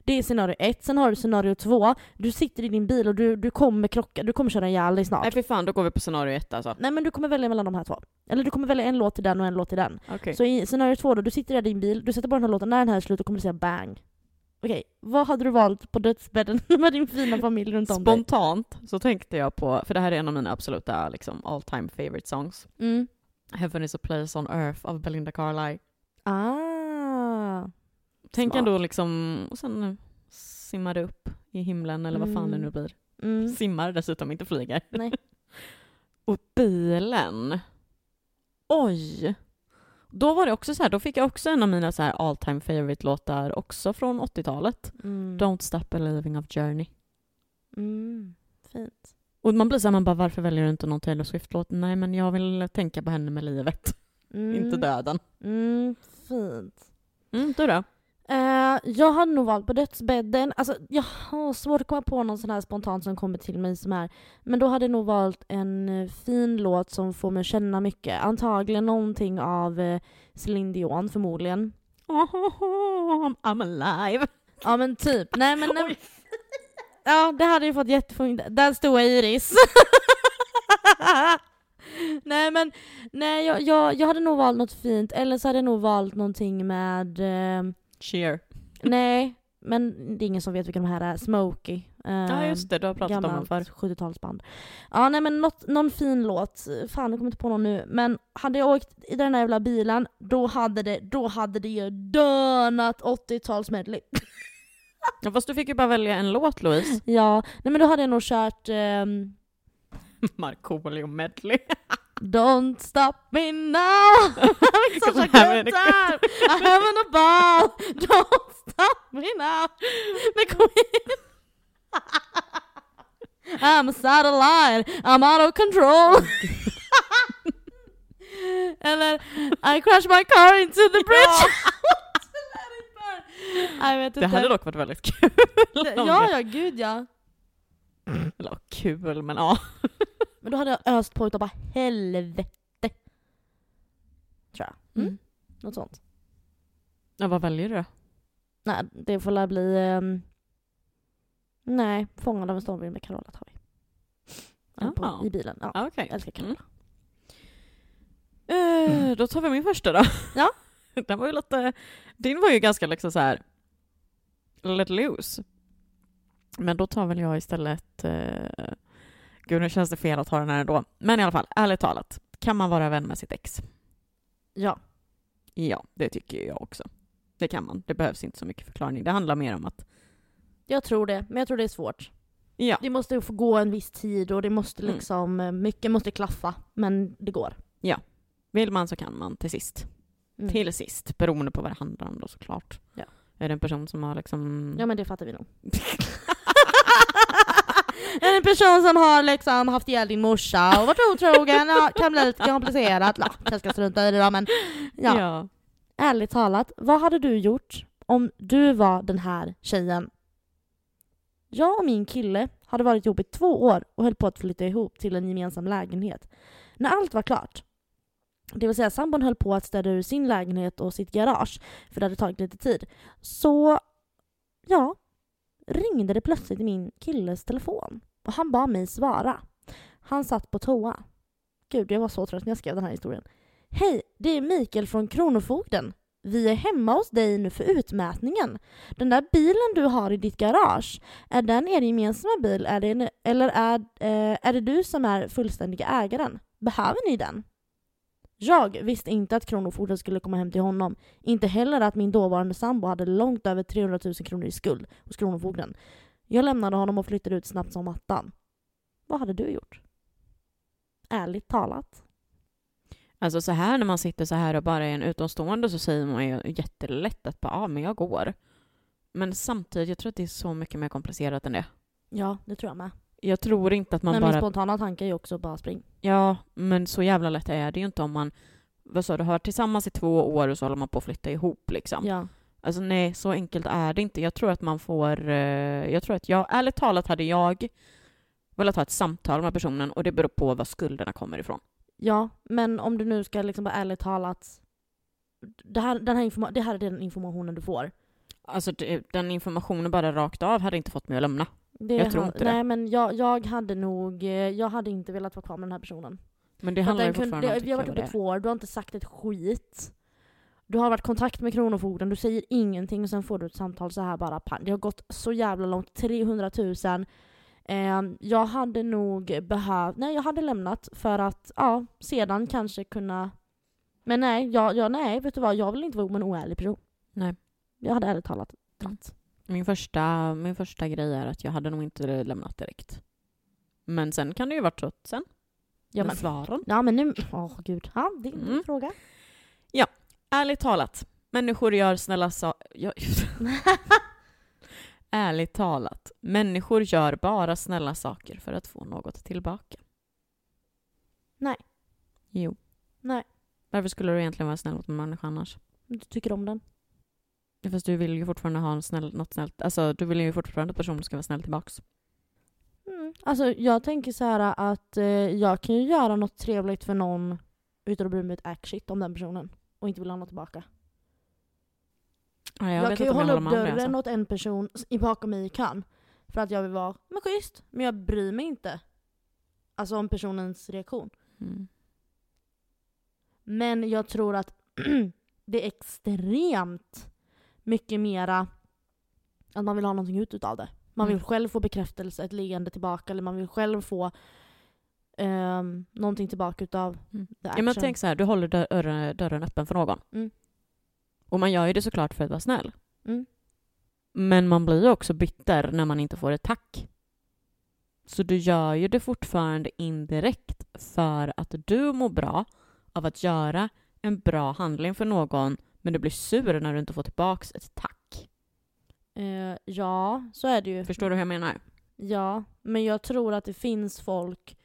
S1: Det är scenario ett. Sen har du scenario två. Du sitter i din bil och du, du kommer krocka, du kommer köra ihjäl dig snart.
S2: Nej fy fan, då går vi på scenario ett alltså.
S1: Nej men du kommer välja mellan de här två. Eller du kommer välja en låt till den och en låt till den.
S2: Okej.
S1: Så i scenario två då, du sitter där i din bil, du sätter på den här låten, när den här är slut då kommer du säga bang. Okej, vad hade du valt på dödsbädden med din fina familj runt om dig?
S2: Spontant så tänkte jag på, för det här är en av mina absoluta liksom, all time favorite songs.
S1: Mm.
S2: Heaven is a place on earth av Belinda Carlisle.
S1: Ah.
S2: Tänk
S1: Smart.
S2: ändå liksom, och sen simmar det upp i himlen eller vad fan det nu
S1: Mm.
S2: blir.
S1: Mm.
S2: Simmar dessutom, inte flyger.
S1: Nej.
S2: Och bilen. Oj! Då var det också så här, då fick jag också en av mina så här all time favorite låtar också från 80-talet.
S1: Mm.
S2: Don't stop believing of Journey.
S1: Mm. Fint.
S2: Och man blir så här, man bara varför väljer du inte någon Taylor Swift-låt? Nej men jag vill tänka på henne med livet,
S1: Mm.
S2: inte döden.
S1: Mm. Fint.
S2: Mm, du då?
S1: Eh, jag hade nog valt på dödsbädden. Alltså, jag har svårt att komma på någon sån här spontan som kommer till mig som är. Men då hade jag nog valt en eh, fin låt som får mig att känna mycket. Antagligen någonting av eh, Céline Dion förmodligen.
S2: Oh, I'm alive.
S1: Ja men typ. Nej men... Nej.
S2: Oj.
S1: Ja det hade ju fått jättefint. Där stod Iris. nej men, nej jag, jag, jag hade nog valt något fint. Eller så hade jag nog valt någonting med... ehm,
S2: Cheer.
S1: Nej, men det är ingen som vet vilka de här är. Smokey. Eh,
S2: Ja just det, du har pratat om den
S1: gammalt
S2: förr.
S1: 70-talsband. Ja nej men något, någon fin låt. Fan jag kommer inte på någon nu. Men hade jag åkt i den där jävla bilen, då hade det, då hade det ju dönat 80-talsmedley.
S2: Ja, fast du fick ju bara välja en låt Louise.
S1: Ja, nej men då hade jag nog kört ehm,
S2: Markoolio medley.
S1: Don't stop me now! Having such a
S2: Kommer här
S1: good
S2: med
S1: time! I'm having a ball! Don't stop me now! Med Queen! I'm a satellite, I'm out of control! Eller I crashed my car into the bridge! Let it burn. Jag vet inte.
S2: Det hade dock varit väldigt kul. om
S1: Ja,
S2: det-
S1: ja, gud ja.
S2: Eller kul, men ja.
S1: Men då hade jag öst på utav bara helvete. Tror jag. Mm.
S2: Mm.
S1: Något sånt.
S2: ja. Vad väljer du då?
S1: Nej, det får väl bli... ehm, nej, Fångad av en stormvind med Carola tar vi. Eller
S2: Ah.
S1: På, I bilen. Ja.
S2: Ah, Okej.
S1: Jag älskar Carola.
S2: Mm. Eh, då tar vi min första då.
S1: Ja.
S2: Den var ju lite, din var ju ganska liksom så här let loose. Men då tar väl jag istället, eh, gud nu känns det fel att ha den här ändå. Men i alla fall, ärligt talat, kan man vara vän med sitt ex?
S1: Ja.
S2: Ja, det tycker jag också. Det kan man, det behövs inte så mycket förklaring. Det handlar mer om att,
S1: Jag tror det, men jag tror det är svårt.
S2: ja,
S1: Det måste få gå en viss tid och det måste
S2: Mm.
S1: liksom... eh, Mycket måste klaffa, men det går.
S2: vill man så kan man till sist.
S1: Mm.
S2: till sist, beroende på vad det handlar om då såklart.
S1: Ja.
S2: Är det en person som har liksom...
S1: Ja men det fattar vi nog. En person som har liksom haft ihjäl din morsa och varit otrogen ja, kan bli lite komplicerat. Ja, jag ska strunta i det då men ja.
S2: ja.
S1: Ärligt talat, vad hade du gjort om du var den här tjejen? Jag och min kille hade varit ihop i två år och höll på att flytta ihop till en gemensam lägenhet. När allt var klart, det vill säga sambon höll på att städa ur sin lägenhet och sitt garage, för det hade tagit lite tid, så ja, ringde det plötsligt i min killes telefon och han bad mig svara. Han satt på toa. Gud, jag var så trött när jag skrev den här historien. Hej, det är Mikael från Kronofogden. Vi är hemma hos dig nu för utmätningen. Den där bilen du har i ditt garage, är den er gemensamma bil är det, eller är, eh, är det du som är fullständiga ägaren? Behöver ni den? Jag visste inte att Kronofogden skulle komma hem till honom. Inte heller att min dåvarande sambo hade långt över 300 000 kronor i skuld hos Kronofogden. Jag lämnade honom och flyttade ut snabbt som attan. Vad hade du gjort? Ärligt talat.
S2: Alltså så här när man sitter så här och bara är en utomstående så säger man ju jättelätt att bara, ja ah, men jag går. Men samtidigt, jag tror att det är så mycket mer komplicerat än det.
S1: Ja, det tror jag med.
S2: Jag tror inte att man
S1: Men min
S2: bara...
S1: spontana tanke är ju också bara spring.
S2: Ja, men så jävla lätt är det ju inte om man, vad sa du, har varit tillsammans i två år och så håller man på att flytta ihop liksom.
S1: Ja.
S2: Alltså nej, så enkelt är det inte. Jag tror att man får... eh, Jag tror att jag... Ärligt talat hade jag velat ha ett samtal med personen och det beror på var skulderna kommer ifrån.
S1: ja, men om du nu ska liksom bara ärligt talat. Det här, den här informa- det här är den informationen du får.
S2: Alltså det, den informationen bara rakt av hade inte fått mig att lämna.
S1: Det
S2: Jag tror inte det.
S1: Nej men jag, jag hade nog, eh, jag hade inte velat vara kvar med den här personen.
S2: Men det
S1: För att
S2: handlar ju
S1: den kunde,
S2: fortfarande
S1: det,
S2: om
S1: vi har varit
S2: vilka
S1: uppe
S2: det
S1: två år, du har inte sagt ett skit. Du har varit i kontakt med Kronofogden, du säger ingenting och sen får du ett samtal så här bara. pang. Det har gått så jävla långt, 300 000. Eh, jag hade nog behövt, nej jag hade lämnat för att ja, sedan kanske kunna Men nej, jag, jag, nej vet du vad, jag vill inte vara med en oärlig person.
S2: Nej. Mm.
S1: Jag hade ärligt talat dratt.
S2: är. Min första, min första grej är att jag hade nog inte lämnat direkt. Men sen kan det ju varit så att sen,
S1: Ja
S2: med
S1: men,
S2: svaren.
S1: ja, men nu, åh gud, ja, det är en
S2: Mm.
S1: fråga.
S2: Ärligt talat, människor gör snälla saker... Ärligt talat, människor gör bara snälla saker för att få något tillbaka.
S1: Nej.
S2: Jo.
S1: Nej.
S2: Varför skulle du egentligen vara snäll mot en människa annars?
S1: Du tycker om den.
S2: Ja, Fast du vill ju fortfarande ha en snäll, något snällt. Alltså du vill ju fortfarande att personen ska vara snäll tillbaks.
S1: Mm. Alltså jag tänker så här att eh, jag kan ju göra något trevligt för någon utan att bry mig ett ack shit om den personen och inte vill ha något tillbaka.
S2: Ja, jag,
S1: Jag,
S2: vet
S1: kan ju
S2: inte om
S1: hålla
S2: jag håller
S1: upp
S2: med om det.
S1: dörren
S2: Alltså.
S1: åt en person s- i- bakom mig i kön för att jag vill vara men schysst, men jag bryr mig inte. Alltså om personens reaktion.
S2: Mm.
S1: Men jag tror att det är extremt mycket mera att man vill ha någonting ut utav det. Man vill
S2: Mm.
S1: själv få bekräftelse, ett leende tillbaka eller man vill själv få um, någonting tillbaka utav
S2: Mm.
S1: the
S2: Ja,
S1: action.
S2: men tänk så här, du håller dör- dörren, dörren öppen för någon.
S1: Mm.
S2: Och man gör ju det såklart för att vara snäll.
S1: Mm.
S2: Men man blir ju också bitter när man inte får ett tack. Så du gör ju det fortfarande indirekt för att du mår bra av att göra en bra handling för någon men du blir sur när du inte får tillbaks ett tack.
S1: Eh, ja, så är det ju.
S2: Förstår du hur jag menar?
S1: Ja, men jag tror att det finns folk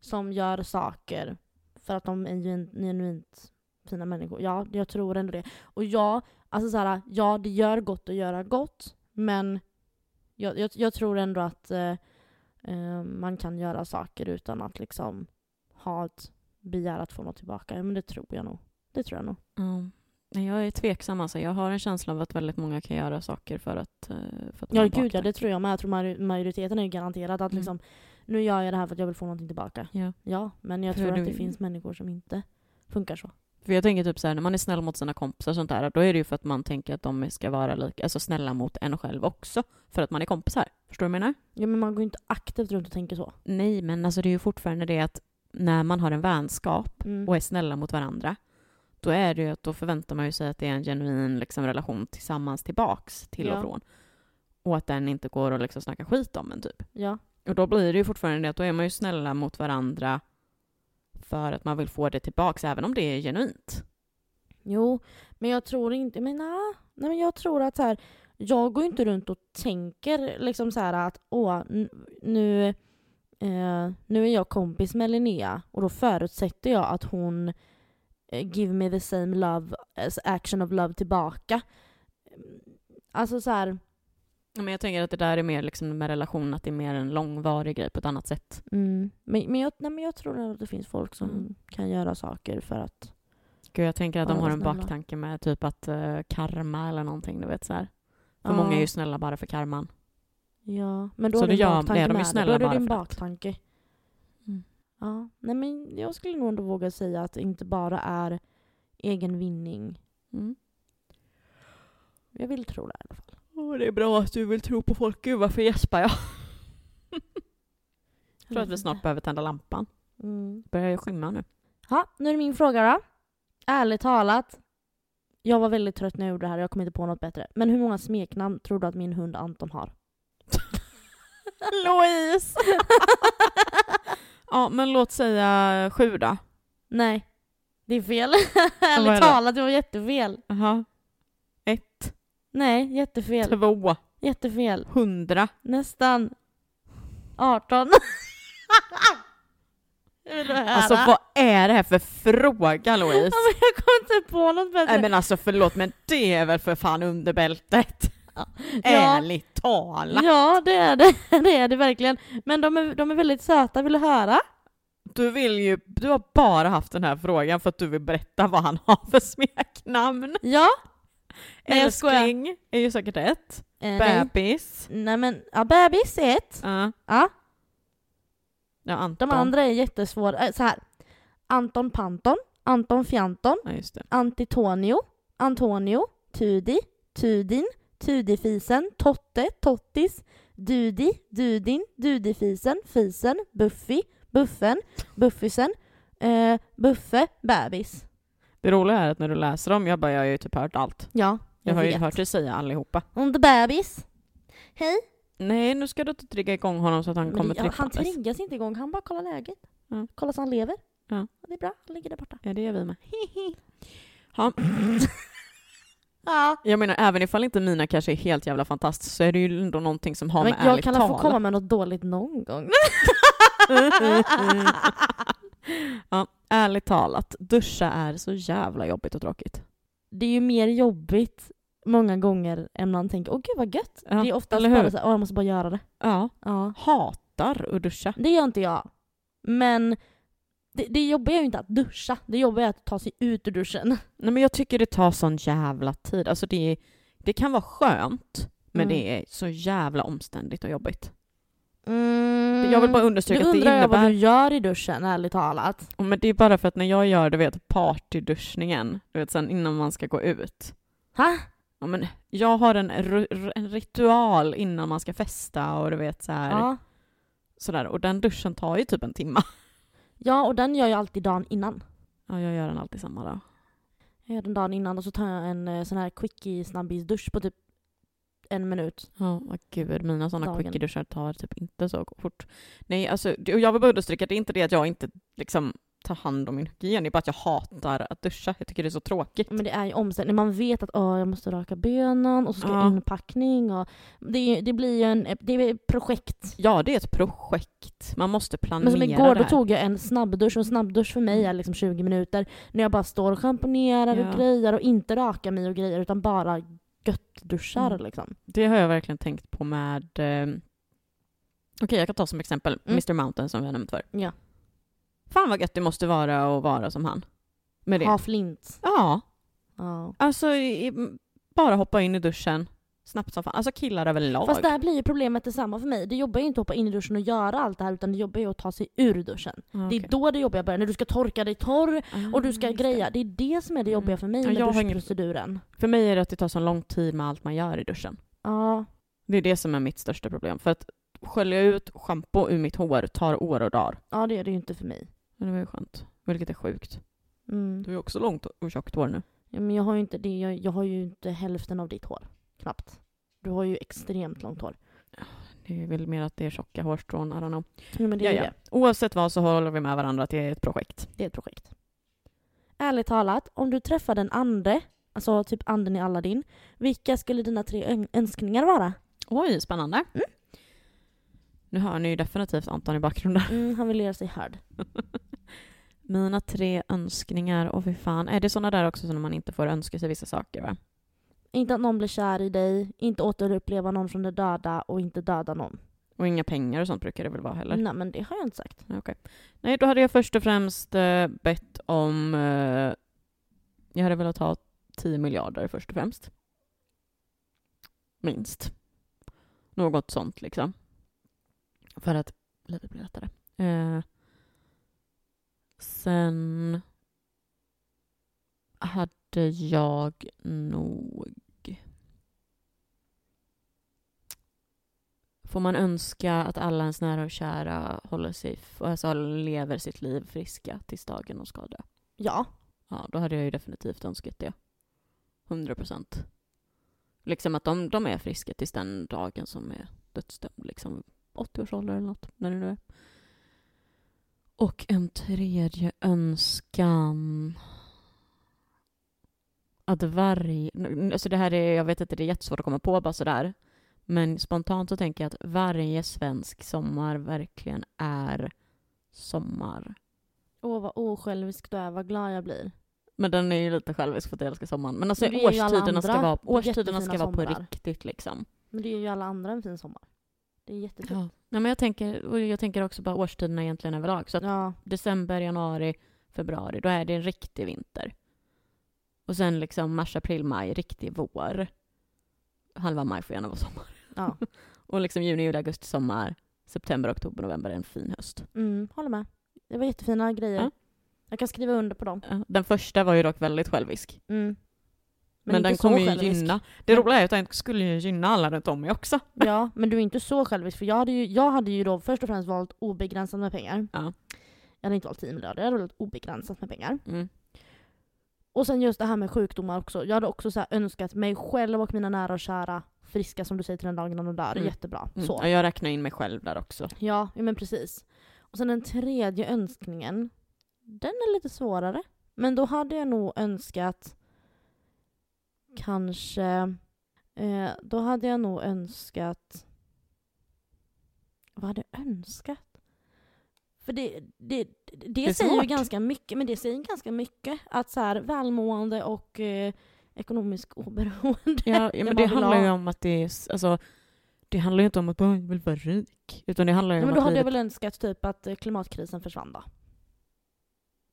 S1: som gör saker för att de är genuint, genuint fina människor. Ja, jag tror ändå det. Och ja, alltså så här, ja det gör gott att göra gott, men jag, jag, jag tror ändå att eh, eh, man kan göra saker utan att liksom ha ett begär att få något tillbaka. Ja, men det tror jag nog. Det tror jag nog.
S2: Mm. Nej, Jag är tveksam alltså. Jag har en känsla av att väldigt många kan göra saker för att... eh, För att
S1: Ja,
S2: man
S1: gud ja,
S2: bakar.
S1: det tror jag med. Jag tror maj- majoriteten är ju garanterad att
S2: Mm.
S1: liksom, nu gör jag det här för att jag vill få någonting tillbaka.
S2: Ja.
S1: Ja, men jag
S2: För
S1: tror att
S2: du-
S1: det finns människor som inte funkar så.
S2: För jag tänker typ så här, när man är snäll mot sina kompisar och sånt där, då är det ju för att man tänker att de ska vara lika, alltså snälla mot en själv också. För att man är kompisar. Förstår du vad jag menar?
S1: Ja, men man går ju inte aktivt runt och tänker så.
S2: Nej, men alltså det är ju fortfarande det att när man har en vänskap
S1: Mm.
S2: och är snälla mot varandra, då är det ju att då förväntar man ju sig att det är en genuin liksom, relation tillsammans tillbaks till
S1: Ja.
S2: och från. Och att den inte går att liksom snacka skit om en typ.
S1: Ja.
S2: Och då blir det ju fortfarande det att då är man ju snälla mot varandra för att man vill få det tillbaks även om det är genuint.
S1: Jo, men jag tror inte... Men nej, nej men jag tror att så här, jag går ju inte runt och tänker liksom så här att åh, n- nu, eh, nu är jag kompis med Linnea och då förutsätter jag att hon eh, give me the same love as action of love tillbaka. Alltså så här,
S2: Ja, Men jag tänker att det där är mer liksom med relation, att det är mer en långvarig grej på ett annat sätt.
S1: mm, men, men, jag, nej, men jag tror att det finns folk som
S2: Mm.
S1: kan göra saker för att
S2: Gud, jag tänker att de
S1: Ja,
S2: har
S1: vad
S2: en
S1: snälla.
S2: baktanke med typ att eh, karma eller någonting, du vet så här. För
S1: Ja.
S2: många är ju snälla bara för karman.
S1: Ja, men då
S2: Så
S1: är det
S2: då
S1: din
S2: gör-
S1: baktanke
S2: är de ju
S1: med det.
S2: snälla
S1: Då är det
S2: bara
S1: din
S2: för att-
S1: baktanke.
S2: Mm.
S1: Ja, nej men jag skulle nog ändå våga säga att det inte bara är egen vinning.
S2: Mm.
S1: Jag vill tro det i alla fall.
S2: det är bra att du vill tro på folk. Gud, varför gäspar jag?
S1: Jag
S2: Jag tror att
S1: vet
S2: vi
S1: inte.
S2: snart behöver tända lampan.
S1: Mm.
S2: Det börjar ju skymma nu.
S1: Ja, nu är det min fråga då. Ärligt talat. Jag var väldigt trött när jag gjorde det här jag kom inte på något bättre. Men hur många smeknamn tror du att min hund Anton har?
S2: Louise! ja, men låt säga sju då.
S1: Nej, det är fel.
S2: vad är
S1: Ärligt
S2: det?
S1: talat, det var jättefel.
S2: Aha. Ett,
S1: Nej, jättefel.
S2: två,
S1: Jättefel.
S2: hundra.
S1: Nästan 18. Hur vill du höra?
S2: Alltså vad är det här för fråga
S1: Ja,
S2: Louise?
S1: men jag kom inte på något bättre.
S2: Nej men alltså förlåt men det är väl för fan underbältet? Ärligt talat!
S1: ja, det är det. Det är det verkligen. Men de är, de är väldigt söta, vill du höra?
S2: Du vill ju, du har bara haft den här frågan för att du vill berätta vad han har för smeknamn.
S1: Ja, Nej, jag skojar.
S2: Älskling är ju säkert ett.
S1: Eh, nej.
S2: Bebis.
S1: nej men, ja bebis är ett.
S2: Ja.
S1: Ja.
S2: Ja, Anton.
S1: De andra är jättesvåra. Eh, så här. Anton Panton, Anton Fjanton,
S2: Ja, just det.
S1: Antitonio, Antonio, Tudi, Tudin, Tudifisen, Totte, Tottis, Dudi, Dudin, Dudifisen, Fisen, Buffy, Buffen, Buffisen, eh, Buffe, bebis.
S2: Det roliga är att när du läser dem, jag bara, jag har ju typ hört allt.
S1: Ja,
S2: Jag, har ju
S1: vet.
S2: hört dig säga allihopa.
S1: Under bebis. Hej.
S2: Nej, nu ska du inte trigga igång honom så att han
S1: Men
S2: kommer
S1: det- ja, han
S2: trippandes.
S1: triggas inte igång, han bara kollar läget.
S2: Ja.
S1: Kollar så han lever.
S2: Ja.
S1: Det är bra, han ligger där borta.
S2: Ja, det är vi med. Ja,
S1: Ja.
S2: jag menar, även ifall inte mina kanske är helt jävla fantastiskt så är det ju ändå någonting som har
S1: Men
S2: med
S1: jag
S2: ärligt
S1: kan
S2: tal.
S1: väl få komma med något dåligt någon gång.
S2: Mm, ja, ärligt talat, duscha är så jävla jobbigt och tråkigt.
S1: det är ju mer jobbigt många gånger än man tänker åh gud vad gött.
S2: Ja,
S1: det är
S2: eller
S1: oftast
S2: hur?
S1: bara såhär, åh jag måste bara göra det.
S2: Ja,
S1: Ja.
S2: hatar att duscha.
S1: Det gör inte jag. Men det, det jobbiga är ju inte att duscha, det jobbiga är att ta sig ut ur duschen.
S2: Nej, men jag tycker det tar sån jävla tid. Alltså det, är- det kan vara skönt, men
S1: Mm.
S2: det är så jävla omständigt och jobbigt.
S1: Mm.
S2: Jag vill bara
S1: du
S2: understryka att det
S1: undrar jag vad
S2: innebär...
S1: du gör i duschen ärligt talat.
S2: Och Men det är bara för att när jag gör, du vet, partyduschningen, du vet, sen innan man ska gå ut.
S1: Ha?
S2: Ja, men jag har en, ru- ru- en ritual innan man ska festa och du vet så här,
S1: Ja.
S2: sådär. Och den duschen tar ju typ en timme.
S1: ja, och den gör jag alltid dagen innan.
S2: Ja, jag gör den alltid samma dag.
S1: Jag gör den dagen innan och så tar jag en eh, sån här quickie snabbisdusch på typ en minut.
S2: Ja, vad gud, mina sådana
S1: Dagen.
S2: quickie-duschar tar typ inte så fort. Nej, alltså, det- och jag vill bara understryka att det är inte det att jag inte liksom tar hand om min hygien, det är bara att jag hatar att duscha. Jag tycker det är så tråkigt.
S1: Men det är ju omställning. Man vet att åh, jag måste raka benen och så ska
S2: Ja.
S1: inpackning och det, är ju- det blir ju en, det är ett projekt.
S2: Ja, det är ett projekt. Man måste planera
S1: Men som igår,
S2: det
S1: då
S2: här.
S1: tog jag en snabbdusch och en snabbdusch för mig är liksom 20 minuter. När jag bara står och schamponerar
S2: Ja.
S1: och grejer och inte rakar mig och grejer utan bara gött duschar
S2: Mm.
S1: liksom.
S2: Det har jag verkligen tänkt på med... Eh, Okej, jag kan ta som exempel
S1: Mm.
S2: Mr Mountain som vi har nämnt för.
S1: Ja.
S2: Fan vad gött det måste vara att vara som han. Med det.
S1: Ha flint.
S2: Ja,
S1: Ja.
S2: alltså i, m- bara hoppa in i duschen snabbt som fan. Alltså killar överlag.
S1: Fast där blir ju problemet detsamma för mig. Det jobbar ju inte att hoppa in i duschen och göra allt det här utan det jobbar ju att ta sig ur duschen.
S2: Ja,
S1: Det är
S2: okej.
S1: då det jobbiga börjar, när du ska torka dig torr och du ska
S2: Ah, just det. Mm.
S1: greja. Det är det som är det jobbiga för mig
S2: Ja,
S1: med
S2: jag har ingen-
S1: duschproceduren.
S2: För mig är det att det tar så lång tid med allt man gör i duschen.
S1: Ja.
S2: Det är det som är mitt största problem. För att skölja ut schampo ur mitt hår tar år och dagar.
S1: ja, det gör det ju inte för mig.
S2: Men det var ju skönt. Vilket är sjukt.
S1: Mm.
S2: Du har ju också långt och tjockt hår nu.
S1: Ja, men jag har ju inte det, jag, jag har ju inte hälften av ditt hår. Knappt. Du har ju extremt långt hår.
S2: Det är väl mer att det är tjocka hårstrån, I don't know.
S1: Ja, men det,
S2: Ja,
S1: är
S2: ja.
S1: Det.
S2: Oavsett vad så håller vi med varandra att det är ett projekt.
S1: det är ett projekt. Ärligt talat, om du träffar den ande, alltså typ anden i Aladdin, vilka skulle dina tre ön- önskningar vara?
S2: Oj, spännande. Mm. Nu hör ni ju definitivt Anton i bakgrunden.
S1: Mm, han vill göra sig hörd.
S2: Mina tre önskningar, och fy fan. Är det sådana där också som man inte får önska sig vissa saker va?
S1: Inte att någon blir kär i dig, inte återuppleva någon från de döda och inte döda någon.
S2: Och inga pengar och sånt brukar det väl vara heller?
S1: Nej men det har jag inte sagt.
S2: Nej, Okej. Nej, då hade jag först och främst eh, bett om... Eh, jag hade velat ha 10 miljarder först och främst. Minst. Något sånt liksom. För att livet blir lättare. Eh, sen hade jag nog... Får man önska att alla ens nära och kära håller sig, f- alltså lever sitt liv friska tills dagen de ska dö?
S1: Ja.
S2: Ja, då hade jag ju definitivt önskat det. 100 procent. Liksom att de, de är friska tills den dagen som är dödsdömd. Liksom 80 års ålder eller något, när det nu är. Och en tredje önskan. Att varg... n- Alltså det här är, jag vet inte, det är jättesvårt att komma på bara sådär. Men spontant så tänker jag att varje svensk sommar verkligen är sommar.
S1: Åh vad osjälvisk du är, vad glad jag blir.
S2: Men den är ju lite självisk för att jag älskar sommaren. Men alltså
S1: Men det är ju alla
S2: årstiderna ska
S1: andra
S2: vara, årstiderna ska
S1: jättefina
S2: vara på
S1: somrar.
S2: riktigt liksom.
S1: Men det är ju alla andra en fin sommar. Det är jättefint.
S2: Ja. Nej, men jag, tänker, och jag tänker också bara årstiderna egentligen överlag. Så att
S1: ja.
S2: december, januari, februari, då är det en riktig vinter. Och sen liksom mars, april, maj, riktig vår. Halva maj får gärna vara sommar.
S1: Ja.
S2: Och liksom juni, juli, augusti, sommar. September, oktober, november är en fin höst.
S1: Mm, håller med. Det var jättefina grejer.
S2: Ja.
S1: Jag kan skriva under på dem.
S2: Ja, Den första var ju dock väldigt självisk.
S1: Mm.
S2: Men,
S1: inte
S2: den
S1: så
S2: kommer ju
S1: självisk.
S2: gynna. Det
S1: Men-
S2: roliga är att den skulle ju gynna alla runt om mig också.
S1: Ja, men du är inte så självisk. För jag hade ju, jag hade ju då först och främst valt obegränsat med pengar.
S2: Ja.
S1: Jag hade inte valt 10 miljarder, jag hade valt obegränsat med pengar.
S2: Mm.
S1: Och sen just det här med sjukdomar också. Jag hade också så här önskat mig själv och mina nära och kära friska som du säger till den dagen när de dör.
S2: Mm.
S1: Jättebra.
S2: Mm.
S1: Så.
S2: Ja, jag räknar in mig själv där också.
S1: Ja, ja, men precis. Och sen den tredje önskningen, den är lite svårare. Men då hade jag nog önskat kanske... Eh, då hade jag nog önskat... Vad hade jag önskat? För det, det, det,
S2: är
S1: säger ju
S2: svårt.
S1: ganska mycket, men det säger ganska mycket. Att så här, välmående och eh, ekonomisk oberoende.
S2: Ja,
S1: man
S2: ja, men det
S1: vill
S2: handlar
S1: ha.
S2: ju om att det är, alltså, det handlar ju inte om att "Åh, jag vill vara rik. Utan det handlar ju
S1: Ja,
S2: om
S1: men då
S2: att
S1: hade jag
S2: livet,
S1: väl önskat typ att eh, klimatkrisen försvann då.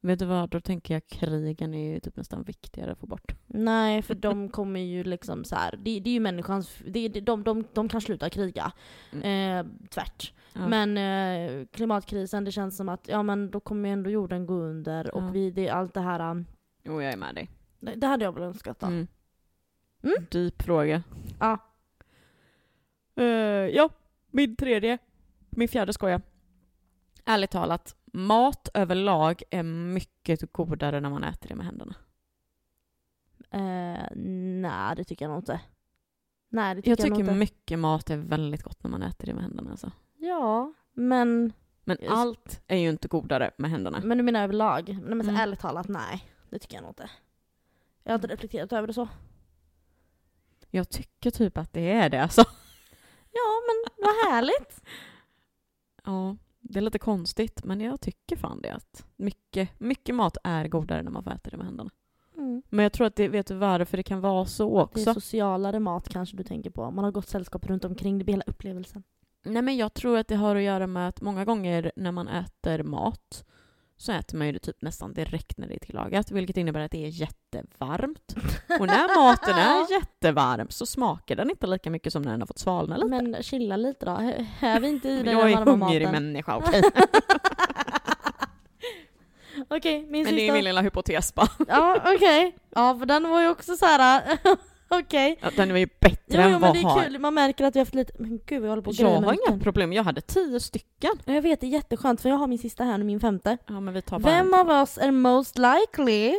S2: vet du vad, då tänker jag krigen är ju typ nästan viktigare att få bort.
S1: Nej, för de kommer ju liksom så här. Det, det är ju människans... Det, det, de, de, de kan sluta kriga. Eh, tvärt.
S2: Mm. Ja.
S1: Men eh, klimatkrisen, det känns som att ja, men då kommer ju ändå jorden gå under. Och
S2: Ja.
S1: vi, det, allt det här... um,
S2: Jo, jag är med dig.
S1: Det, det hade jag väl önskat då.
S2: Mm.
S1: Mm.
S2: Dyp fråga.
S1: Ja.
S2: Eh, ja, min tredje. Min fjärde skoja. Ärligt talat, mat överlag är mycket godare när man äter det med händerna.
S1: Eh, nej, det tycker jag nog inte. Nej, det tycker
S2: Jag
S1: jag,
S2: tycker
S1: nog inte.
S2: mycket mat är väldigt gott när man äter det med händerna. Alltså.
S1: Ja, men,
S2: Men
S1: Just-
S2: allt är ju inte godare med händerna.
S1: men du menar överlag? Nej, men så
S2: Mm.
S1: ärligt talat, nej. Det tycker jag nog inte. Jag har inte reflekterat över det så.
S2: Jag tycker typ att det är det alltså.
S1: Ja, men vad härligt.
S2: Ja, det är lite konstigt men jag tycker fan det. Att mycket, mycket mat är godare när man får äta det med händerna.
S1: Mm.
S2: Men jag tror att det, vet du varför det kan vara så
S1: Det
S2: också?
S1: är socialare mat kanske du tänker på. Man har gott sällskap runt omkring, det blir hela upplevelsen.
S2: Nej men jag tror att det har att göra med att många gånger när man äter mat så äter man ju det typ nästan direkt när det är tillagat vilket innebär att det är jättevarmt. Och när maten är jättevarm så smakar den inte lika mycket som när den har fått svalna lite.
S1: Men chilla lite då. Hä- Häv inte i dig
S2: jag
S1: den
S2: är
S1: varma
S2: hungrig
S1: maten.
S2: människa, okej.
S1: Okej, min
S2: Men det är
S1: sista.
S2: min lilla hypotes bara.
S1: Ja, okej. Ja, för den var ju också så här. okej.
S2: Ja, den är ju bättre
S1: Jo,
S2: än
S1: jo, men
S2: vad
S1: det
S2: har.
S1: är kul. Man märker att vi har haft lite... Men gud, vi håller på att
S2: Jag
S1: greja med
S2: har
S1: micken.
S2: inga problem, jag hade tio stycken.
S1: Ja, Jag vet, det är jätteskönt för jag har min sista här nu, min femte.
S2: Ja men vi tar bara
S1: Vem av oss är most likely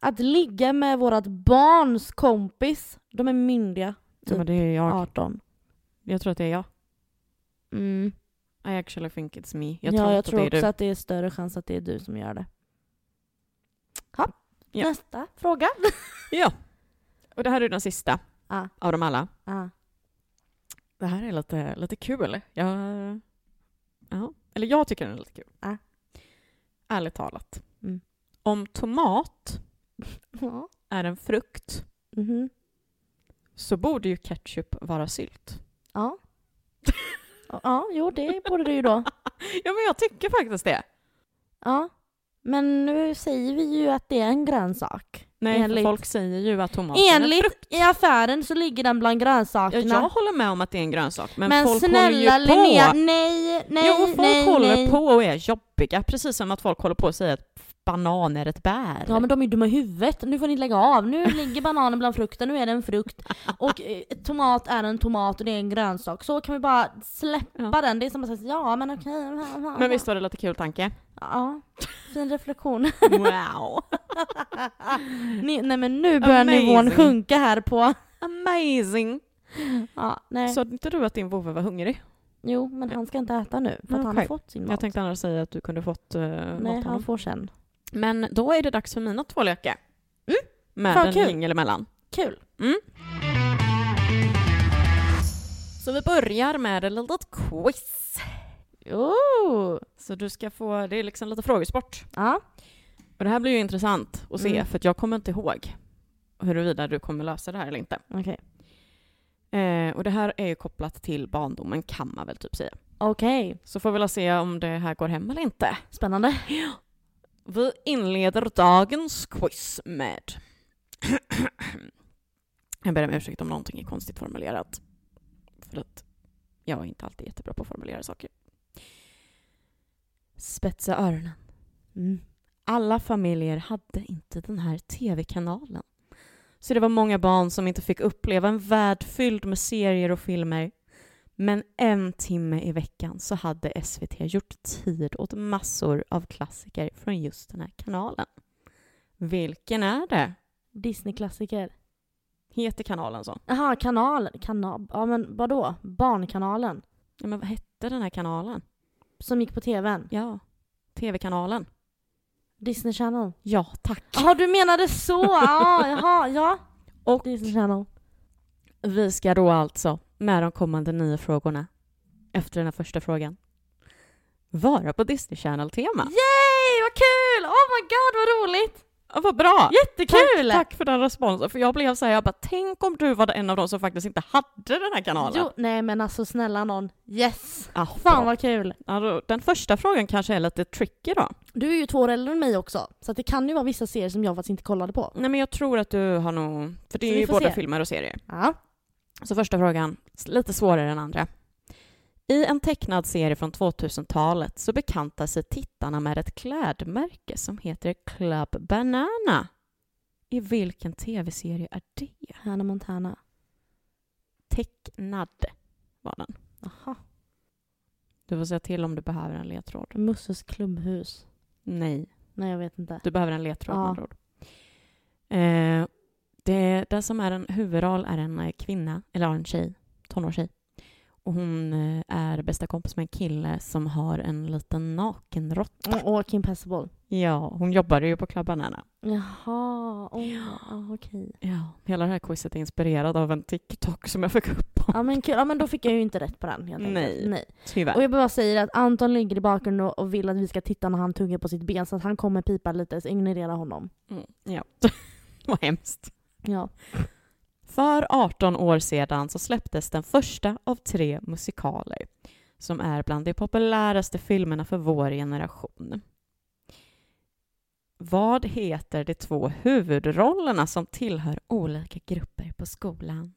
S1: att ligga med vårt barns kompis? De är myndiga,
S2: Ja, men det är jag.
S1: 18.
S2: Jag tror att det är jag.
S1: Mm.
S2: I actually think it's me. Jag
S1: ja,
S2: tror
S1: jag
S2: inte
S1: tror
S2: att det är
S1: också
S2: du.
S1: att det är större chans att det är du som gör det. Ha,
S2: Ja.
S1: Nästa fråga.
S2: Ja. Och det här är den sista
S1: Ah.
S2: av dem alla.
S1: Ah.
S2: Det här är lite, lite kul. Jag, ja. Eller jag tycker den är lite kul.
S1: Ja.
S2: Ärligt talat.
S1: Mm.
S2: Om tomat
S1: Ja.
S2: är en frukt
S1: Mhm.
S2: så borde ju ketchup vara sylt.
S1: ja. Ja, jo det borde du ju då.
S2: Ja men jag tycker faktiskt det.
S1: Ja. Men nu säger vi ju att det är en grönsak.
S2: Nej, för
S1: Enligt-
S2: folk säger ju att tomat är en frukt.
S1: Enligt i affären så ligger den bland
S2: Ja,
S1: grönsakerna.
S2: jag håller med om att det är en grönsak. Men,
S1: men
S2: folk
S1: snälla
S2: håller ju på.
S1: Linnea, nej, nej,
S2: jo, folk
S1: nej,
S2: håller
S1: nej.
S2: på och är jobbiga. Precis som att folk håller på och säger att banan är ett bär.
S1: Ja men de är ju dumma i huvudet, nu får ni lägga av. Nu ligger bananen bland frukten, nu är det en frukt. Och eh, tomat är en tomat och det är en grönsak. Så kan vi bara släppa
S2: Ja.
S1: den. Det är som att säga ja men okej. ja, ja,
S2: Men
S1: ja.
S2: visst var det lite kul tanke?
S1: Ja, fin reflektion.
S2: Wow!
S1: Ni, nej men nu börjar
S2: Amazing.
S1: nivån sjunka här på...
S2: Amazing!
S1: Ja, nej.
S2: Sa inte du att din vovve var hungrig?
S1: Jo men han ska inte äta nu för att han har
S2: Okej.
S1: fått sin
S2: Jag
S1: mat.
S2: tänkte annars säga att du kunde fått uh,
S1: nej
S2: mat
S1: han
S2: honom.
S1: får sen.
S2: Men då är det dags för mina två lekar. Med
S1: Fan,
S2: en
S1: kul.
S2: jingel emellan.
S1: Kul.
S2: Mm. Så vi börjar med ett litet quiz.
S1: Oh.
S2: Så du ska få, det är liksom lite frågesport.
S1: Ja.
S2: Och det här blir ju intressant att se
S1: Mm.
S2: för att jag kommer inte ihåg huruvida du kommer lösa det här eller inte.
S1: Okej.
S2: Eh, och det här är ju kopplat till barndomen kan man väl typ säga.
S1: Okej.
S2: Så får vi väl se om det här går hem eller inte.
S1: Spännande.
S2: Vi inleder dagens quiz med Jag ber om ursäkt om någonting är konstigt formulerat. För att jag är inte alltid jättebra på att formulera saker. Spetsa öronen.
S1: Mm.
S2: Alla familjer hade inte den här tv-kanalen. Så det var många barn som inte fick uppleva en värld fylld med serier och filmer. Men en timme i veckan så hade SVT gjort tid åt massor av klassiker från just den här kanalen. Vilken är det?
S1: Disney-klassiker.
S2: Heter kanalen så?
S1: Jaha, kanalen. Kanal. Ja men vadå? Barnkanalen.
S2: Ja, men vad hette den här kanalen?
S1: Som gick på tvn.
S2: Ja, tv-kanalen.
S1: Disney Channel.
S2: Ja, tack.
S1: Jaha du menade så! Ja, jaha, ja.
S2: Och-
S1: Disney Channel.
S2: Vi ska då alltså, med de kommande nio frågorna, efter den här första frågan, vara på Disney Channel-tema.
S1: Yay, vad kul! Oh my god vad roligt!
S2: Ja, Vad bra!
S1: Jättekul!
S2: Tack för den responsen, för jag blev så här, jag bara tänk om du var en av de som faktiskt inte hade den här kanalen.
S1: Jo, nej men alltså snälla någon. Yes!
S2: Ah,
S1: Fan
S2: bra.
S1: vad kul!
S2: Ja, då- Den första frågan kanske är lite tricky då.
S1: Du är ju två år äldre än mig också, så att det kan ju vara vissa serier som jag faktiskt inte kollade på.
S2: Nej men jag tror att du har nog, för det
S1: Så
S2: är
S1: vi
S2: ju
S1: får
S2: både
S1: se.
S2: filmer och serier.
S1: Ja.
S2: Så första frågan, s- lite svårare än andra. I en tecknad serie från 2000-talet så bekantar sig tittarna med ett klädmärke som heter Club Banana. I vilken tv-serie är det?
S1: Hannah Montana.
S2: Tecknad var den.
S1: Jaha.
S2: Du får säga till om du behöver en ledtråd.
S1: Musses klubbhus.
S2: Nej,
S1: Nej jag vet inte.
S2: du behöver en ledtråd med
S1: Ja.
S2: andra ord. Eh, det, det som är en huvudroll är en eh, kvinna, eller ja, en tjej, tonårstjej. Och hon eh, är bästa kompis med en kille som har en liten nakenrott.
S1: Och, och Kim Possible.
S2: Ja, hon jobbade ju på Club Banana.
S1: Jaha, oh, ja, okej.
S2: Ja. Hela det här quizet är inspirerat av en TikTok som jag fick upp om.
S1: Ja men kul, ja men då fick jag ju inte rätt på den helt enkelt.
S2: Nej.
S1: Nej.
S2: Tyvärr.
S1: Och jag bara säger att Anton ligger i bakgrunden och- och vill att vi ska titta när han tuggar på sitt ben så att han kommer pipa lite så ignorera honom.
S2: Mm, ja. Vad hemskt.
S1: Ja.
S2: För 18 år sedan så släpptes den första av tre musikaler som är bland de populäraste filmerna för vår generation. Vad heter de två huvudrollerna som tillhör olika grupper på skolan?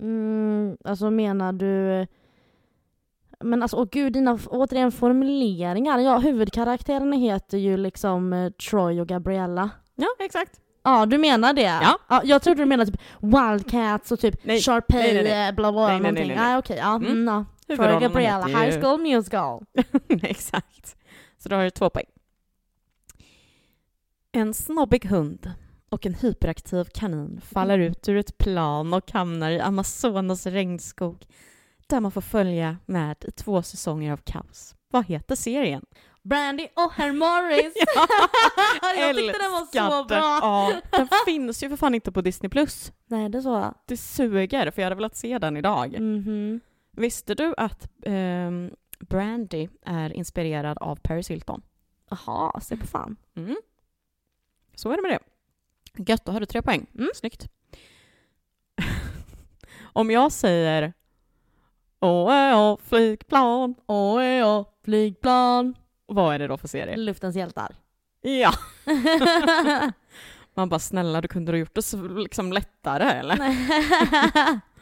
S1: Mm, alltså menar du... Men alltså åh gud, dina f- återigen formuleringar. Ja, huvudkaraktärerna heter ju liksom eh, Troy och Gabriella.
S2: Ja, exakt.
S1: Ja, du menar det?
S2: Ja.
S1: jag trodde du menade typ Wildcats och typ
S2: Nej, nej, nej, nej.
S1: Sharpay, eh, bla bla
S2: Nej, nej, nej,
S1: någonting. Nej,
S2: nej, nej.
S1: Ah, okej, ja.
S2: Mm.
S1: Mm, ja. Troy och
S2: Huvudrollerna
S1: Gabriella,
S2: heter ju-
S1: High School Musical.
S2: Exakt. Så då har du två poäng. En snobbig hund och en hyperaktiv kanin faller
S1: Mm.
S2: ut ur ett plan och hamnar i Amazonas regnskog där man får följa med i två säsonger av kaos. Vad heter serien?
S1: Brandy och Herr Morris! jag tyckte den var så
S2: Älskade.
S1: bra!
S2: Ja, den finns ju för fan inte på Disney+. Plus.
S1: Nej, det såg jag.
S2: Det suger, för jag hade velat se den idag.
S1: Mhm.
S2: Visste du att ehm, Brandy är inspirerad av Paris Hilton?
S1: Jaha, se på fan.
S2: Mm. Så är det med det. Gött, då har du tre poäng.
S1: Mm.
S2: Snyggt. Om jag säger Åh, eh, åh, flygplan, åh, eh, åh,
S1: Flygplan,
S2: vad är det då för serie?
S1: luftens hjältar.
S2: Ja! Man bara snälla, du kunde ha gjort det så liksom lättare eller?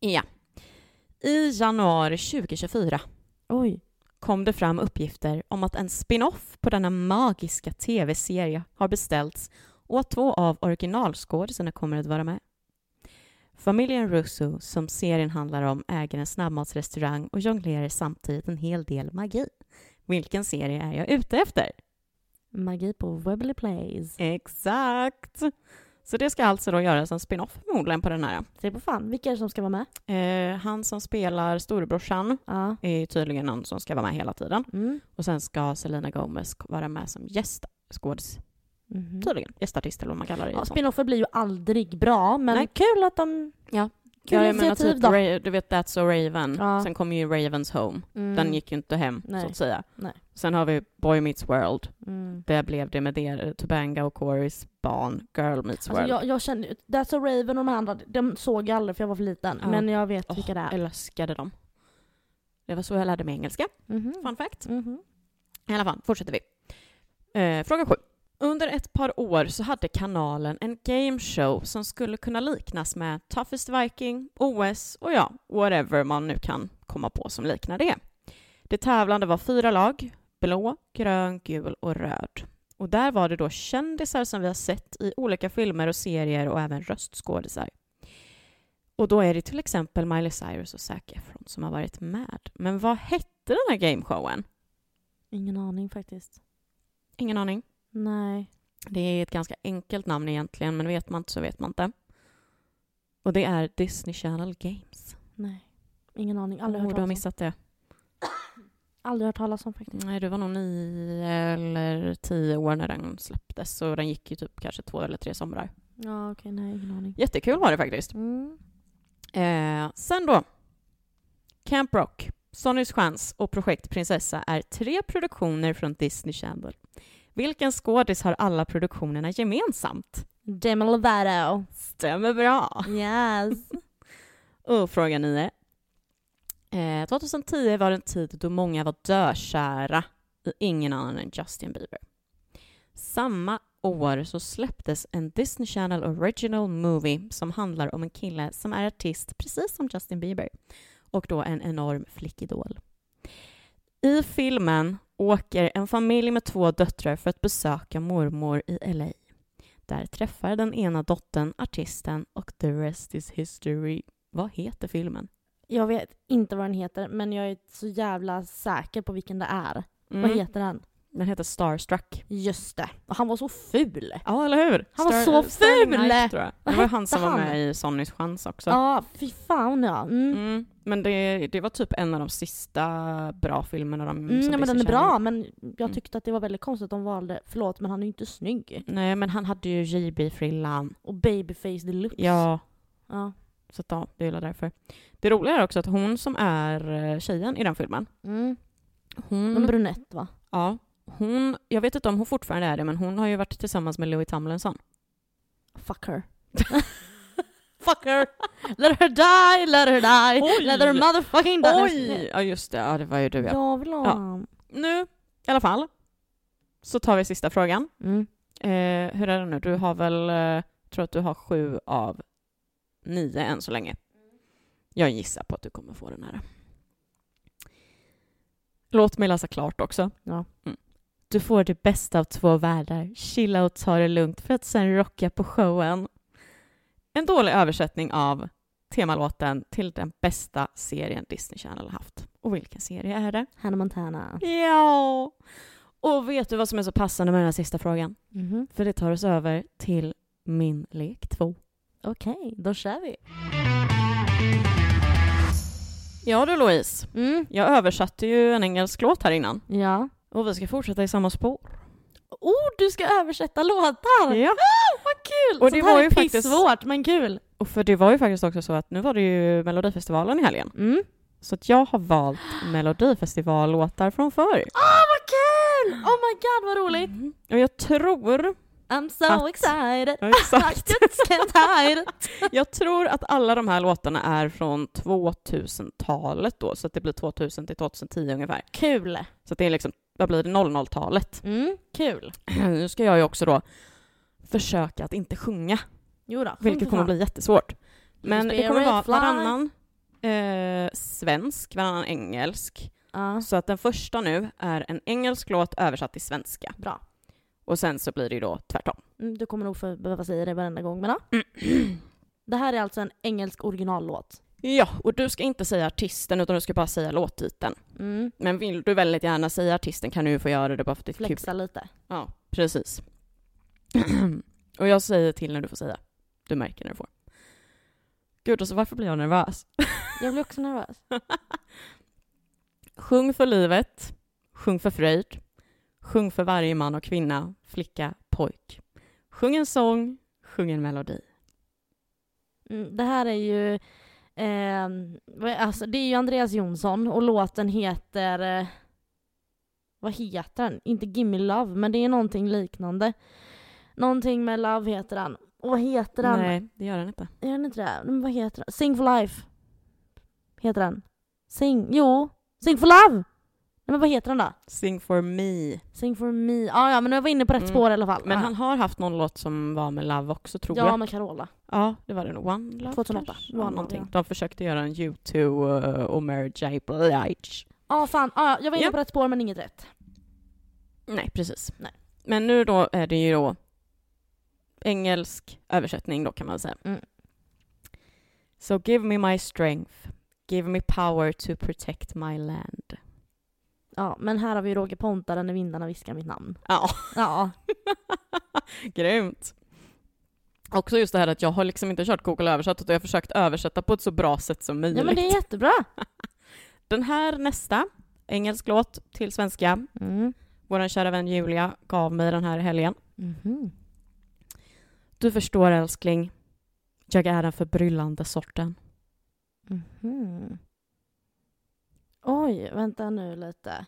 S2: Ja. I januari 2024
S1: Oj.
S2: kom det fram uppgifter om att en spin-off på denna magiska tv-serie har beställts och att två av originalskådisarna kommer att vara med. Familjen Russo, som serien handlar om, äger en snabbmatsrestaurang och jonglerar samtidigt en hel del magi. Vilken serie är jag ute efter?
S1: Magi på Webbly Plays.
S2: Exakt! Så det ska alltså då göras en spin-off förmodligen på den här.
S1: Se på fan, vilka är det som ska vara med?
S2: Eh, han som spelar storebrorsan
S1: Ja.
S2: är tydligen någon som ska vara med hela tiden.
S1: Mm.
S2: Och sen ska Selena Gomez vara med som gästskådis,
S1: Mhm.
S2: tydligen. Gästartist eller vad man kallar det. Liksom.
S1: Ja,
S2: Ja,
S1: spin-offer blir ju aldrig bra, men
S2: Nej.
S1: kul att de...
S2: Ja. typ
S1: Kul initiativ då.
S2: Ra- du vet That's So Raven,
S1: Ja.
S2: sen kom ju Ravens Home.
S1: Mm.
S2: Den gick ju inte hem,
S1: Nej.
S2: så att säga.
S1: Nej.
S2: Sen har vi Boy Meets World.
S1: Mm.
S2: Där blev det med det, Tobanga och Corys barn, Girl Meets
S1: Alltså
S2: World.
S1: jag, jag kände, That's a Raven och de andra, de såg jag aldrig för jag var för liten.
S2: Ja.
S1: Men jag vet
S2: Åh,
S1: vilka det är.
S2: älskade dem. Det var så jag lärde mig engelska,
S1: Mhm.
S2: fun fact.
S1: Mhm.
S2: I alla fall, fortsätter vi. Eh, fråga sju. Under ett par år så hade kanalen en gameshow som skulle kunna liknas med Toughest Viking, OS och ja, whatever man nu kan komma på som liknar det. Det tävlande var fyra lag, blå, grön, gul och röd. Och där var det då kändisar som vi har sett i olika filmer och serier och även röstskådisar. Och då är det till exempel Miley Cyrus och Zac Efron som har varit med. Men vad hette den här gameshowen?
S1: Ingen aning faktiskt.
S2: Ingen aning.
S1: Nej.
S2: Det är ett ganska enkelt namn egentligen, men vet man inte så vet man inte. Och det är Disney Channel Games.
S1: Nej. Ingen aning. Aldrig
S2: Aldrig
S1: hört
S2: du har
S1: talas om.
S2: missat det.
S1: Aldrig hört talas om faktiskt.
S2: Nej, du var nog nio eller tio år när den släpptes, så den gick ju typ kanske två eller tre somrar.
S1: Ja okej, nej ingen aning.
S2: Jättekul var det faktiskt.
S1: Mm.
S2: Eh, sen då. Camp Rock, Sonys chans och Projekt Prinsessa är tre produktioner från Disney Channel. Vilken skådis har alla produktionerna gemensamt?
S1: Demi Lovato.
S2: Stämmer bra!
S1: Yes.
S2: Och fråga nio. Eh, 2010 var en tid då många var dökära i ingen annan än Justin Bieber. Samma år så släpptes en Disney Channel Original Movie som handlar om en kille som är artist precis som Justin Bieber och då en enorm flickidol. I filmen åker en familj med två döttrar för att besöka mormor i LA. Där träffar den ena dottern artisten och the rest is history. Vad heter filmen?
S1: Jag vet inte vad den heter men jag är så jävla säker på vilken det är. Vad
S2: Mm.
S1: heter den?
S2: Den heter Starstruck.
S1: Just det. Och han var så ful.
S2: Ja, eller hur?
S1: Han var så
S2: Starry
S1: ful!
S2: Night, tror jag. Det
S1: Vad
S2: var han som var
S1: hette
S2: med i Sonnys chans också.
S1: Ja, fy fan ja. Mm. Mm.
S2: Mm. Men det, det var typ en av de sista bra filmerna de som
S1: ja, Mm, men
S2: Disney
S1: den är
S2: Channel-
S1: bra men
S2: Mm.
S1: jag tyckte att det var väldigt konstigt att de valde, förlåt men han är ju inte snygg.
S2: Nej, men han hade ju JB-frillan.
S1: Och babyface deluxe.
S2: Ja,
S1: ja.
S2: så att, ja, det är väl därför. Det roliga är också att hon som är eh, tjejen i den filmen,
S1: Mm.
S2: hon...
S1: En brunett va?
S2: ja, hon, jag vet inte om hon fortfarande är det, men hon har ju varit tillsammans med Louis Tomlinson.
S1: Fuck her. Fuck her! Let her die, let her die!
S2: Oj.
S1: Let her motherfucking die!
S2: Ja, just det. Ja, det var ju du, ja.
S1: Jag vill ha
S2: Ja.
S1: honom.
S2: nu i alla fall så tar vi sista frågan.
S1: Mm.
S2: Eh, hur är det nu? Du har väl, eh, tror att du har sju av nio än så länge. Jag gissar på att du kommer få den här. Låt mig läsa klart också.
S1: Ja.
S2: Mm. Du får det bästa av två världar. Chilla och ta det lugnt för att sen rocka på showen. En dålig översättning av temalåten till den bästa serien Disney Channel haft. Och vilken serie är det?
S1: Hannah Montana.
S2: Ja. Och vet du vad som är så passande med den här sista frågan?
S1: Mhm.
S2: För det tar oss över till min lek två.
S1: Okej, då kör vi.
S2: Ja du Louise,
S1: Mm.
S2: jag översatte ju en engelsk låt här innan.
S1: Ja.
S2: Och vi ska fortsätta i samma spår.
S1: Oh, du ska översätta låtar!
S2: Ja.
S1: Ah, vad kul!
S2: Och
S1: Sånt
S2: det
S1: här
S2: var
S1: är
S2: ju faktiskt-
S1: pissvårt, men kul.
S2: Och för det var ju faktiskt också så att nu var det ju Melodifestivalen i helgen.
S1: Mm.
S2: Så att jag har valt Melodifestivallåtar från förr.
S1: Ah, vad kul! Oh my god, vad roligt!
S2: Mm. Och jag tror...
S1: I'm so
S2: Att-
S1: excited!
S2: Ja,
S1: I
S2: exakt.
S1: just can't hide it.
S2: Jag tror att alla de här låtarna är från 2000-talet då, så att det blir 2000 till 2010 ungefär.
S1: Kul!
S2: Så att det är liksom, vad blir det, 00-talet.
S1: Mm, kul.
S2: Nu ska jag ju också då försöka att inte sjunga,
S1: Jo då,
S2: vilket kommer att bli jättesvårt. Men
S1: Just
S2: det
S1: be a
S2: kommer
S1: red
S2: vara
S1: fly.
S2: varannan eh, svensk, varannan engelsk.
S1: Ja,
S2: Så att den första nu är en engelsk låt översatt till svenska.
S1: bra.
S2: Och sen så blir det ju då tvärtom.
S1: Mm, Du kommer nog få behöva säga det varenda gång, men ja. Mm. Det här är alltså en engelsk originallåt.
S2: Ja, och du ska inte säga artisten utan du ska bara säga låttiteln.
S1: Mm.
S2: Men vill du väldigt gärna säga artisten kan du ju få göra det bara för att det är kul.
S1: Flexa lite.
S2: Ja, precis. och jag säger till när du får säga. Du märker när du får. Gud, alltså varför blir jag nervös?
S1: Jag blir också nervös.
S2: Sjung för livet, sjung för fröjd, sjung för varje man och kvinna, flicka, pojk. Sjung en sång, sjung en melodi.
S1: Mm, det här är ju... ehm, vad- alltså, det är ju Andreas Jonsson och låten heter... eh, vad heter den? Inte Gimme Love, men det är någonting liknande. Någonting med Love heter den. Och vad heter den?
S2: Nej, det gör den inte.
S1: Är den inte det? Men vad heter den? Sing for life. Heter den. Sing. Jo. Sing for love! Nej men vad heter den då?
S2: Sing for me.
S1: Sing for me. Ah, ja men jag var inne på rätt
S2: Mm.
S1: spår i alla fall.
S2: Men
S1: ah.
S2: han har haft någon låt som var med Love också tror
S1: Ja
S2: jag.
S1: med Carola.
S2: Ja, det var det nog. One Love
S1: 2008.
S2: kanske?
S1: One
S2: Ja,
S1: Love,
S2: någonting.
S1: ja.
S2: De försökte göra en U2 eh, och Mary J. Blige.
S1: Ja ah, fan, ah, ja, jag var inne
S2: Ja.
S1: på rätt spår men inget rätt.
S2: Nej, precis.
S1: Nej.
S2: Men nu då är det ju då engelsk översättning då kan man säga.
S1: Mm.
S2: So give me my strength, give me power to protect my land.
S1: Ja men här har vi Roger Pontare när vindarna viskar mitt namn.
S2: Ja,
S1: Ja.
S2: grymt. Också just det här att jag har liksom inte kört Google översatt utan jag har försökt översätta på ett så bra sätt som möjligt.
S1: ja men det är jättebra.
S2: Den här nästa, engelsk låt till svenska,
S1: Mm.
S2: vår kära vän Julia gav mig den här helgen.
S1: Mhm.
S2: Du förstår älskling, jag är den förbryllande sorten.
S1: Mhm. Oj, vänta nu lite.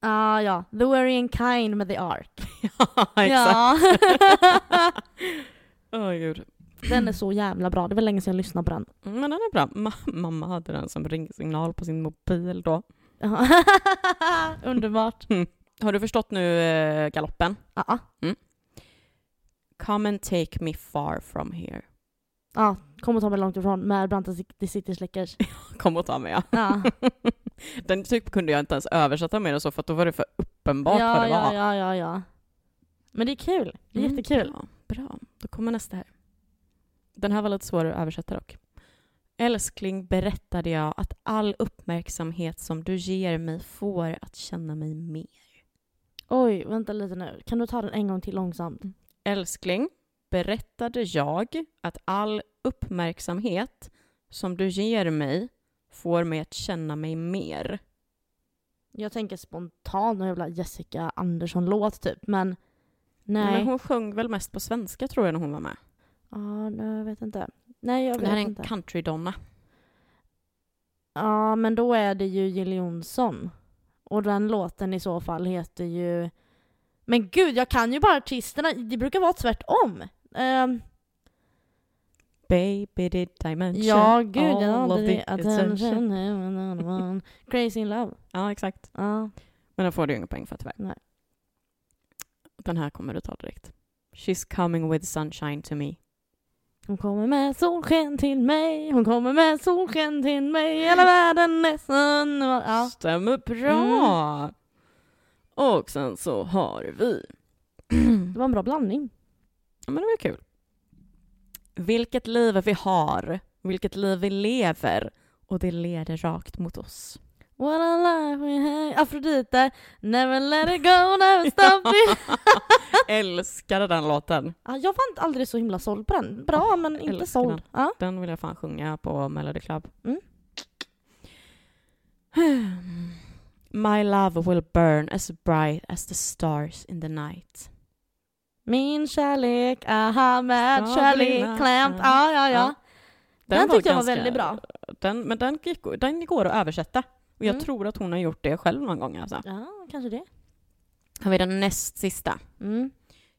S1: Ah, ja, The Worrying Kind med The Ark.
S2: ja, exakt.
S1: Ja.
S2: Åh gud.
S1: den är så jävla bra. Det var länge sedan jag lyssnade på den.
S2: Mm, Men den är bra. Ma- mamma hade den som ringsignal på sin mobil då.
S1: Ja. Underbart.
S2: Har du förstått nu eh, galoppen?
S1: Ja, ah,
S2: Come and take me far from here.
S1: ah. kom och ta mig långt ifrån med Branta The City Slickers.
S2: Kom och ta mig. Ja.
S1: Ja,
S2: Den typ kunde jag inte ens översätta mer än så för att då var det för uppenbart vad
S1: ja,
S2: det var.
S1: ja, ja, ja, ja. Men det är kul. Det är
S2: Mm,
S1: jättekul.
S2: Bra, bra. Då kommer nästa här. Den här var lite svårare att översätta dock. Älskling berättade jag att all uppmärksamhet som du ger mig får att känna mig mer.
S1: Oj, vänta lite nu. Kan du ta den en gång till långsamt?
S2: Mm. Älskling berättade jag att all uppmärksamhet som du ger mig får mig att känna mig mer.
S1: Jag tänker spontant någon jävla Jessica Andersson-låt typ, men nej.
S2: Men hon sjöng väl mest på svenska tror jag när hon var med.
S1: Ja, nej, jag vet inte. Nej, jag
S2: Det här är
S1: vet
S2: en
S1: inte.
S2: countrydonna.
S1: Ja, men då är det ju Jill Johnson. Och den låten i så fall heter ju... Men gud, jag kan ju bara artisterna. Det brukar vara tvärtom. Ehm,
S2: Baby did I mention
S1: ja, gud.
S2: all
S1: ja,
S2: of
S1: det
S2: the
S1: är attention. attention. Crazy in love.
S2: Ja, exakt.
S1: Ja.
S2: Men den får du ju ingen poäng för tyvärr.
S1: Nej.
S2: Den här kommer du ta direkt. She's coming with sunshine to me.
S1: Hon kommer med solsken till mig. Hon kommer med solsken till mig. Hela världen är underbar. Ja. Mm.
S2: Stämmer bra! Och sen så har vi...
S1: Det var en bra blandning.
S2: Ja, men det var ju kul. Vilket liv vi har, vilket liv vi lever och det leder rakt mot oss.
S1: What a life we have. Afrodite, never let it go, never stop it.
S2: Älskade den låten.
S1: Ja, jag var inte aldrig så himla såld på den. Bra, men inte
S2: älskar
S1: såld.
S2: den.
S1: Ja.
S2: Den vill jag fan sjunga på Melody Club.
S1: Mm.
S2: My love will burn as bright as the stars in the night.
S1: Min kärlek, aha, med
S2: Ska
S1: kärlek,
S2: brinna.
S1: klämt. Ja, ja, ja.
S2: Ja.
S1: Den, tyckte jag var väldigt bra.
S2: Den, men den, gick, den går att översätta. Och jag
S1: Mm.
S2: tror att hon har gjort det själv någon gång. Alltså.
S1: Ja, kanske det.
S2: Har vi den näst sista.
S1: Mm.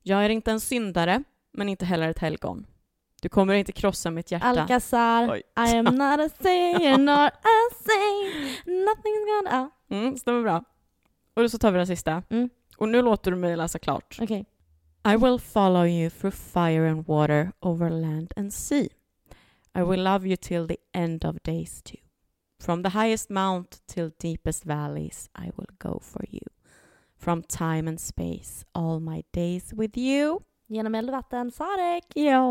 S2: Jag är inte en syndare, men inte heller ett helgon. Du kommer inte krossa mitt hjärta.
S1: Alcazar,
S2: Oj.
S1: I am not a sayer nor a saint. Nothing's gonna... Ja,
S2: Mm, stämmer bra. Och så tar vi den sista.
S1: Mm.
S2: Och nu låter du mig läsa klart.
S1: okej.
S2: I will follow you through fire and water, over land and sea. I will love you till the end of days too. From the highest mount till deepest valleys, I will go for you. From time and space, all my days with you.
S1: Genom eld och vatten, Sarek.
S2: Ja,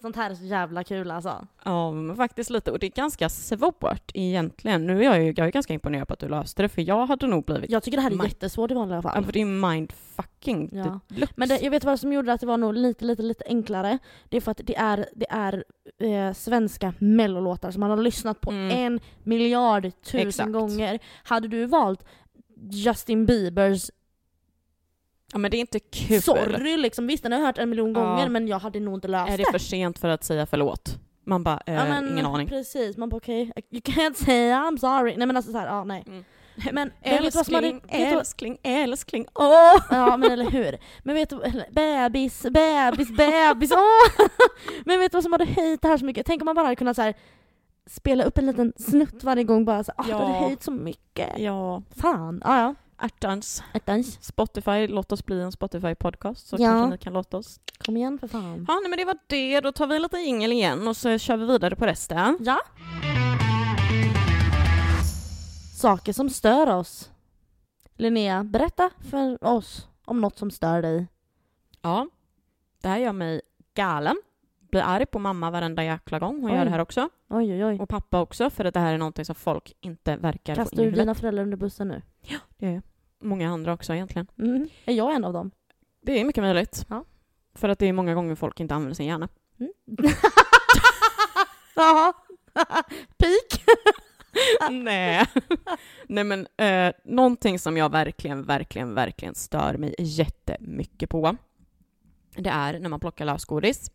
S1: Sånt här är så jävla kul alltså.
S2: ja men faktiskt lite. Och det är ganska svårt egentligen. Nu är jag ju jag är ganska imponerad på att du löste det, för jag hade nog blivit...
S1: Jag tycker det här är
S2: Ma-
S1: jättesvårt i vanliga
S2: Ja,
S1: fall.
S2: för det är mindfucking
S1: Ja.
S2: deluxe.
S1: Men det, jag vet vad som gjorde att det var nog lite, lite, lite enklare. Det är för att det är, det är eh, svenska mellolåtar som man har lyssnat på
S2: Mm.
S1: en miljard tusen
S2: Exakt.
S1: gånger. Hade du valt Justin Biebers
S2: ja, men det är inte kul.
S1: Sorry liksom, visst den har jag hört en miljon
S2: Ja.
S1: gånger men jag hade nog inte löst
S2: Är det för sent för att säga förlåt? Man bara, eh,
S1: Ja, men
S2: ingen aning.
S1: Precis, man bara okej, you can't say I'm sorry. Nej men alltså såhär, ja nej.
S2: Mm.
S1: Men, men vet du vad som hade,
S2: Älskling,
S1: vet du vad-
S2: älskling, älskling, åh!
S1: Ja men eller hur. Men vet du, eller, bebis, bebis, bebis, åh! Men vet du vad som hade höjt det här så mycket? Tänk om man bara hade kunnat så här spela upp en liten snutt varje gång bara så ah,
S2: Ja.
S1: du har höjt så mycket.
S2: Ja,
S1: Fan, ah, ja.
S2: ärtans.
S1: Ettans.
S2: Spotify, låt oss bli en Spotify-podcast så
S1: Ja.
S2: kanske ni kan låta oss.
S1: Kom igen för fan.
S2: Ja, nej, men det var det. Då tar vi lite jingel igen och så kör vi vidare på resten.
S1: Ja. Saker som stör oss. Linnea, berätta för oss om något som stör dig.
S2: Ja, det här gör mig galen. Blir arg på mamma varenda jäkla gång hon
S1: Oj.
S2: gör det här också.
S1: Oj, oj, oj.
S2: Och pappa också, för att det här är någonting som folk inte verkar få
S1: Kastar
S2: in i
S1: du
S2: huvudet.
S1: dina föräldrar under bussen nu?
S2: Det är många andra också egentligen.
S1: Mm. Är jag en av dem?
S2: Det är mycket möjligt.
S1: Ja.
S2: För att det är många gånger folk inte använder sin hjärna.
S1: Mm. Jaha. Pik.
S2: Nej. Nej men eh, någonting som jag verkligen, verkligen, verkligen stör mig jättemycket på. Det är när man plockar lösgodis.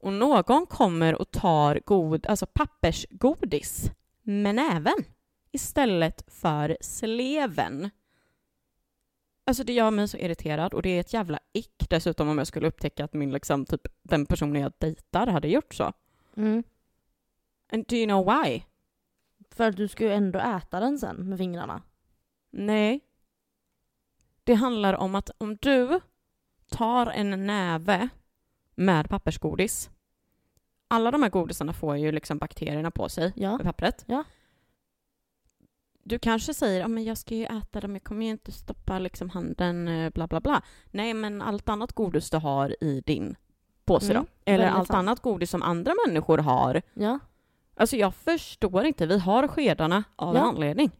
S2: Och någon kommer och tar god, alltså pappersgodis med näven istället för sleven. Alltså det gör mig så irriterad och det är ett jävla ick dessutom om jag skulle upptäcka att min liksom typ den personen jag dejtar hade gjort så.
S1: Mm.
S2: And do you know why?
S1: För att du ska ju ändå äta den sen med fingrarna.
S2: Nej. Det handlar om att om du tar en näve med pappersgodis. Alla de här godisarna får ju liksom bakterierna på sig
S1: Ja.
S2: med pappret.
S1: Ja.
S2: Du kanske säger att men jag ska ju äta dem, jag kommer ju inte stoppa liksom handen, eh, bla bla bla. Nej, men allt annat godis du har i din påse
S1: Mm,
S2: då. Eller
S1: väldigt
S2: allt
S1: sant.
S2: annat godis som andra människor har.
S1: Ja,
S2: Alltså jag förstår inte, vi har skedarna av
S1: Ja.
S2: en anledning.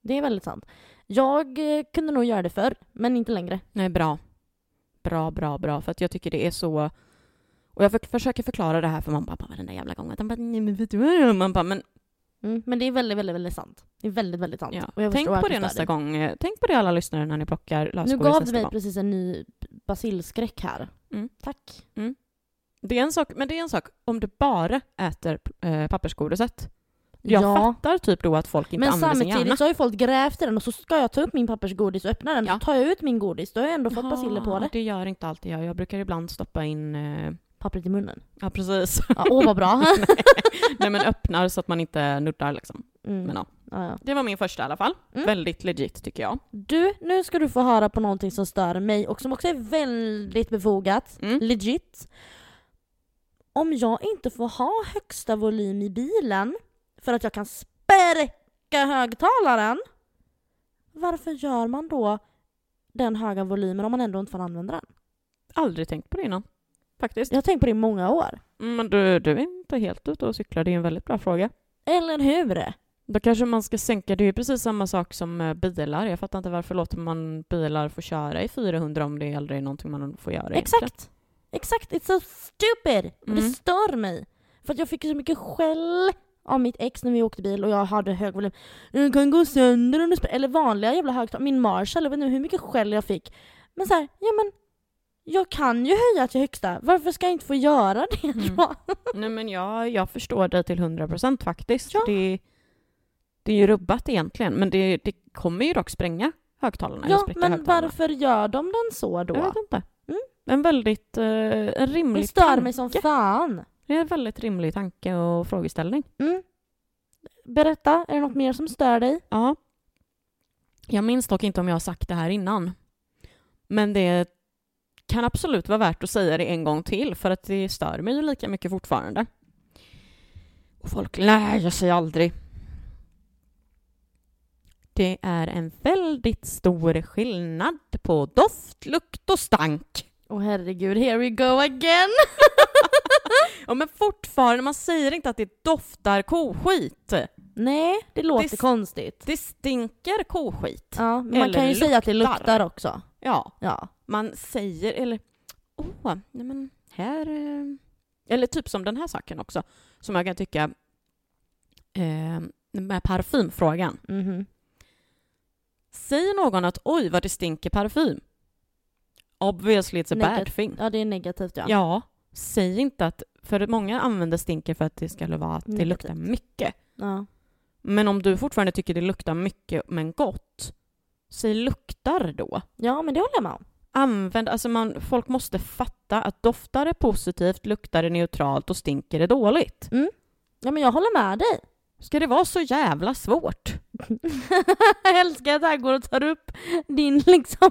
S1: det är väldigt sant. Jag eh, kunde nog göra det förr, men inte längre.
S2: Nej, bra. Bra, bra, bra. För att jag tycker det är så... Och jag för- försöker förklara det här för mamma och pappa varenda jävla gång. Att de bara, nej men vet du vad? Man bara, men
S1: Mm. Men det är väldigt, väldigt, väldigt sant. Det är väldigt, väldigt sant.
S2: ja.
S1: Och jag
S2: Tänk
S1: förstår
S2: på
S1: att du
S2: det
S1: stör
S2: nästa
S1: dig.
S2: gång. Eh, Tänk på det alla lyssnare när ni plockar
S1: Nu
S2: lösgodis
S1: gav du
S2: nästa
S1: mig
S2: gång.
S1: precis en ny basilskräck här.
S2: Mm.
S1: Tack.
S2: Det är en sak, men det är en sak om du bara äter eh, pappersgodiset. Jag
S1: ja,
S2: fattar typ då att folk inte
S1: men
S2: använder sin hjärna.
S1: samtidigt så har ju folk grävt i den och så ska jag ta upp min pappersgodis och öppna den.
S2: Ja.
S1: Så tar jag ut min godis, då har jag ändå fått basiller på
S2: Ja,
S1: det.
S2: Det gör inte alltid jag. Jag brukar ibland stoppa in... Eh...
S1: Pappret i munnen.
S2: Ja, precis.
S1: Ja, åh vad bra. Mm.
S2: nej, men öppnar så att man inte nuddar liksom.
S1: Mm.
S2: Men ja.
S1: Ja, ja.
S2: Det var min första i alla fall.
S1: Mm.
S2: Väldigt legit tycker jag.
S1: Du, nu ska du få höra på någonting som stör mig och som också är väldigt befogat.
S2: Mm.
S1: Legit. Om jag inte får ha högsta volym i bilen för att jag kan spärka högtalaren. Varför gör man då den höga volymen om man ändå inte får använda den?
S2: aldrig tänkt på det innan. Faktiskt.
S1: Jag har tänkt på det i många år.
S2: Men du, du är inte helt ute och cyklar, det är en väldigt bra fråga.
S1: Eller hur?
S2: Då kanske man ska sänka, det är ju precis samma sak som eh, bilar. Jag fattar inte varför låter man bilar få köra i 400 om det aldrig är någonting man får göra egentligen.
S1: Exakt! Exakt, it's so stupid! Och det
S2: Mm.
S1: stör mig. För att jag fick ju så mycket skäll av mitt ex när vi åkte bil och jag hade hög volym. Den kan gå sönder om du spelar... Eller vanliga jävla högtalare. Min Marshall, jag vet inte hur mycket skäll jag fick. Men så här, ja men jag kan ju höja till högsta. Varför ska jag inte få göra det
S2: Mm.
S1: då?
S2: Nej men jag, jag förstår dig till 100% faktiskt.
S1: Ja.
S2: Det, det är ju rubbat egentligen, men det, det kommer ju dock spränga högtalarna. eller
S1: Ja,
S2: spricka
S1: men
S2: högtalarna.
S1: varför gör de den så
S2: Jag
S1: då?
S2: vet inte.
S1: Mm.
S2: En väldigt eh, en rimlig
S1: Det stör
S2: tanke.
S1: mig som fan.
S2: Det är en väldigt rimlig tanke och frågeställning.
S1: Mm. Berätta, är det något mer som stör dig?
S2: Ja. Jag minns dock inte om jag har sagt det här innan. Men det kan absolut vara värt att säga det en gång till för att det stör mig ju lika mycket fortfarande. Och folk lär sig aldrig. Det är en väldigt stor skillnad på doft, lukt och stank.
S1: Åh herregud, here we go again!
S2: Ja men fortfarande, man säger inte att det doftar koskit.
S1: Nej, det låter
S2: Det-
S1: konstigt.
S2: Det stinker koskit.
S1: Ja, men man
S2: Eller
S1: kan ju
S2: luktar.
S1: säga att det luktar också.
S2: Ja.
S1: Ja.
S2: man säger, eller åh, nej men här... eh." Eller typ som den här saken också, som jag kan tycka eh, med parfymfrågan.
S1: Mhm.
S2: Säger någon att oj vad det stinker parfym? Obviously it's a
S1: Negativt,
S2: bad thing.
S1: ja, det är negativt ja.
S2: Ja. säg inte att, för många använder stinker för att det ska vara att det
S1: Negativt.
S2: luktar mycket.
S1: Ja.
S2: Men om du fortfarande tycker det luktar mycket men gott, säg luktar då.
S1: Ja, men det håller jag med om.
S2: använd, alltså man, folk måste fatta att doftar är positivt, luktar är neutralt och stinker är dåligt.
S1: Mm. Ja men jag håller med dig.
S2: Ska det vara så jävla svårt?
S1: jag älskar att det här går och tar upp din liksom.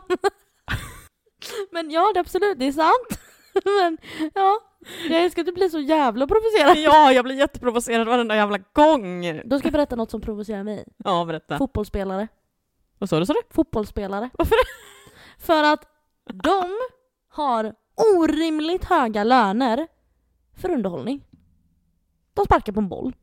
S1: men ja, det är absolut, det är sant. men ja, jag älskar att du blir så jävla provocerad.
S2: Ja, jag blir jätteprovocerad varenda jävla gång.
S1: Då ska jag berätta något som provocerar mig.
S2: Ja, berätta.
S1: Fotbollsspelare.
S2: Vad sa du? Sa du?
S1: Fotbollsspelare.
S2: Varför
S1: För att de har orimligt höga löner för underhållning. De sparkar på en boll.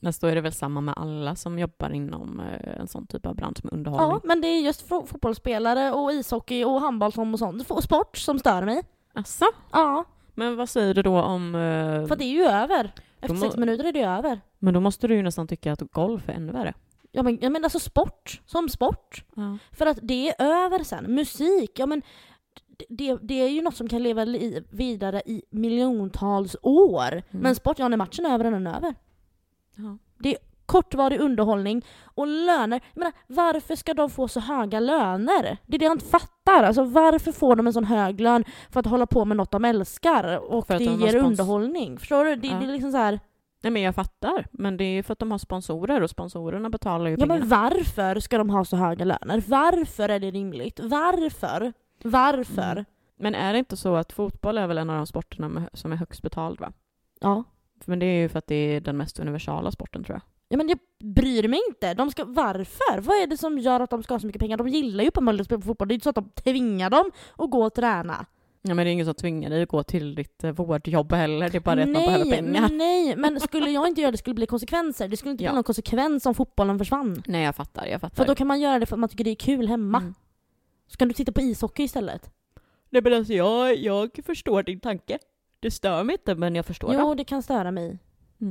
S2: Men då är det väl samma med alla som jobbar inom eh, en sån typ av bransch med underhållning?
S1: Ja, men det är just fo- fotbollsspelare och ishockey och handboll som och sånt. F- Sport som stör mig.
S2: Asså?
S1: Ja,
S2: Men vad säger du då om... eh,
S1: för det är ju över. Efter
S2: De-
S1: sex minuter är det över.
S2: Men då måste du ju nästan tycka att golf är ännu värre.
S1: Ja men, ja, men alltså sport, som sport.
S2: Ja.
S1: För att det är över sen. Musik, ja men d- det, det är ju något som kan leva li- vidare i miljontals år. Men sport, ja när matchen är över, den är över.
S2: Mm. Ja.
S1: Kortvarig underhållning och löner. Jag menar, varför ska de få så höga löner? Det är det jag inte fattar. Alltså, varför får de en sån hög lön för att hålla på med något de älskar och
S2: För att
S1: det
S2: de
S1: ger
S2: har spons-
S1: underhållning? Förstår du? Det,
S2: Ja.
S1: det är liksom så här...
S2: Nej men jag fattar. Men det är ju för att de har sponsorer och sponsorerna betalar ju
S1: Ja
S2: pengarna.
S1: men varför ska de ha så höga löner? Varför är det rimligt? Varför? Varför?
S2: Mm. Men är det inte så att fotboll är väl en av de sporterna med, som är högst betald va?
S1: Ja.
S2: Men det är ju för att det är den mest universala sporten tror jag.
S1: ja men jag bryr mig inte. De ska, varför? Vad är det som gör att de ska ha så mycket pengar? De gillar ju uppenbarligen att spela fotboll. Det är ju inte så att de tvingar dem att gå och träna.
S2: Ja men det är ingen som tvingar dig att gå till ditt eh, vårdjobb heller. Det är bara det att man behöver pengar.
S1: nej, men skulle jag inte göra det skulle det bli konsekvenser. Det skulle inte
S2: Ja.
S1: bli någon konsekvens om fotbollen försvann.
S2: Nej jag fattar, jag fattar.
S1: För då kan man göra det för att man tycker det är kul hemma.
S2: Mm.
S1: Så kan du titta på ishockey istället.
S2: Nej men alltså jag, jag förstår din tanke. Det stör mig inte men jag förstår
S1: Jo, det kan störa mig.
S2: Mm.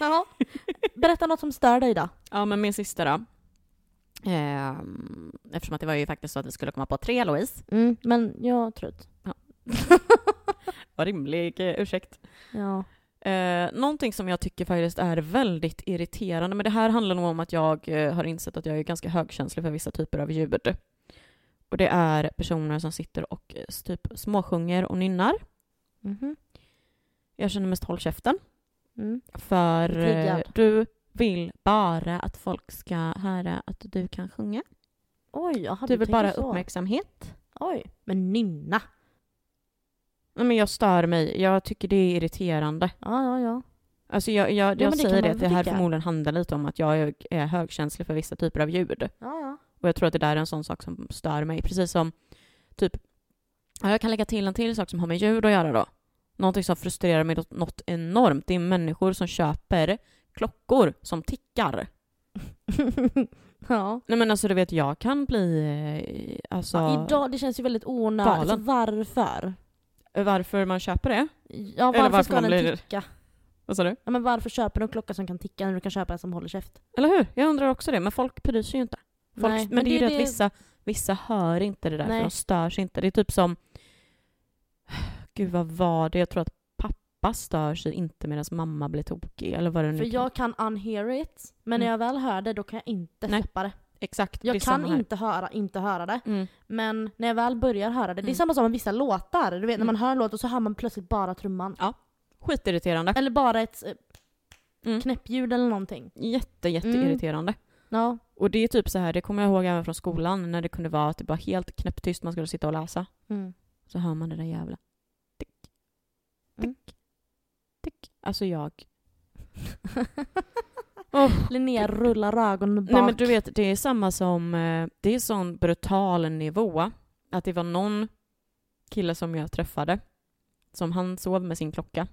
S1: Jaha. Berätta något som stör dig då.
S2: Ja, men min sista då. Ehm, eftersom att det var ju faktiskt så att vi skulle komma på tre, Louise.
S1: Mm, men jag är trött.
S2: Vad rimlig eh, ursäkt.
S1: Ja.
S2: Eh, någonting som jag tycker faktiskt är väldigt irriterande, men det här handlar nog om att jag eh, har insett att jag är ganska högkänslig för vissa typer av ljud. Och det är personer som sitter och eh, typ småsjunger och nynnar.
S1: Mhm.
S2: Jag känner mest håll käften.
S1: Mm.
S2: För
S1: Blir triggad.
S2: eh, du vill bara att folk ska höra att du kan sjunga.
S1: Oj, jaha,
S2: Du vill
S1: tänker
S2: bara
S1: så.
S2: uppmärksamhet.
S1: Oj, men nynna.
S2: Nej, men jag stör mig. Jag tycker det är irriterande.
S1: Ja, ja, ja.
S2: Alltså jag, jag,
S1: men
S2: jag
S1: det kan
S2: säger
S1: man
S2: det,
S1: väl
S2: att det här
S1: tycka.
S2: förmodligen handlar lite om att jag är högkänslig för vissa typer av ljud.
S1: ja, ja.
S2: Och jag tror att det där är en sån sak som stör mig. Precis som typ, ja, jag kan lägga till en till sak som har med ljud att göra då. Någonting som frustrerar mig något- något enormt, det är människor som köper klockor som tickar.
S1: ja.
S2: Nej men alltså du vet, jag kan bli, eh, alltså
S1: ja. Idag, det känns ju väldigt onödigt.
S2: Galen.
S1: Alltså, varför?
S2: varför man köper det.
S1: Ja,
S2: Eller
S1: varför,
S2: varför
S1: ska den
S2: man blir-
S1: ticka?
S2: Vad sa du?
S1: Ja, men varför köper du en klocka som kan ticka när du kan köpa en som håller käft?
S2: Eller hur? Jag undrar också det, men folk bryr sig ju inte. Folk,
S1: Nej,
S2: men, det är ju det att vissa, vissa hör inte det där,
S1: Nej.
S2: för de störs inte. Det är typ som... Gud, vad var det? Jag tror att pappa stör sig inte medan mamma blir tokig, eller vad Mm, det nu
S1: För
S2: kan-
S1: jag kan unhear it, men när
S2: Mm.
S1: jag väl hör det då kan jag inte
S2: Nej.
S1: släppa det.
S2: Exakt, det är
S1: Jag
S2: samma
S1: kan
S2: här.
S1: inte höra, inte höra det.
S2: Mm.
S1: Men när jag väl börjar höra det, det är
S2: Mm.
S1: samma sak med vissa låtar. Du vet när
S2: Mm.
S1: man hör en låt och så hör man plötsligt bara trumman.
S2: Skitirriterande.
S1: Eller bara ett eh,
S2: Mm.
S1: knäppljud eller någonting.
S2: Jätte,
S1: Mm.
S2: jätteirriterande.
S1: Ja.
S2: Och det är typ så här, det kommer jag ihåg även från skolan, när det kunde vara att det var helt knäpptyst, man skulle sitta och läsa.
S1: Mm.
S2: Så hör man det där jävla... Tick, tick,
S1: Mm.
S2: tick. Alltså jag...
S1: Linnea rullar ögonen bak.
S2: Nej men du vet, det är samma som, eh, det är sån brutal nivå. Att det var någon kille som jag träffade, som han sov med sin klocka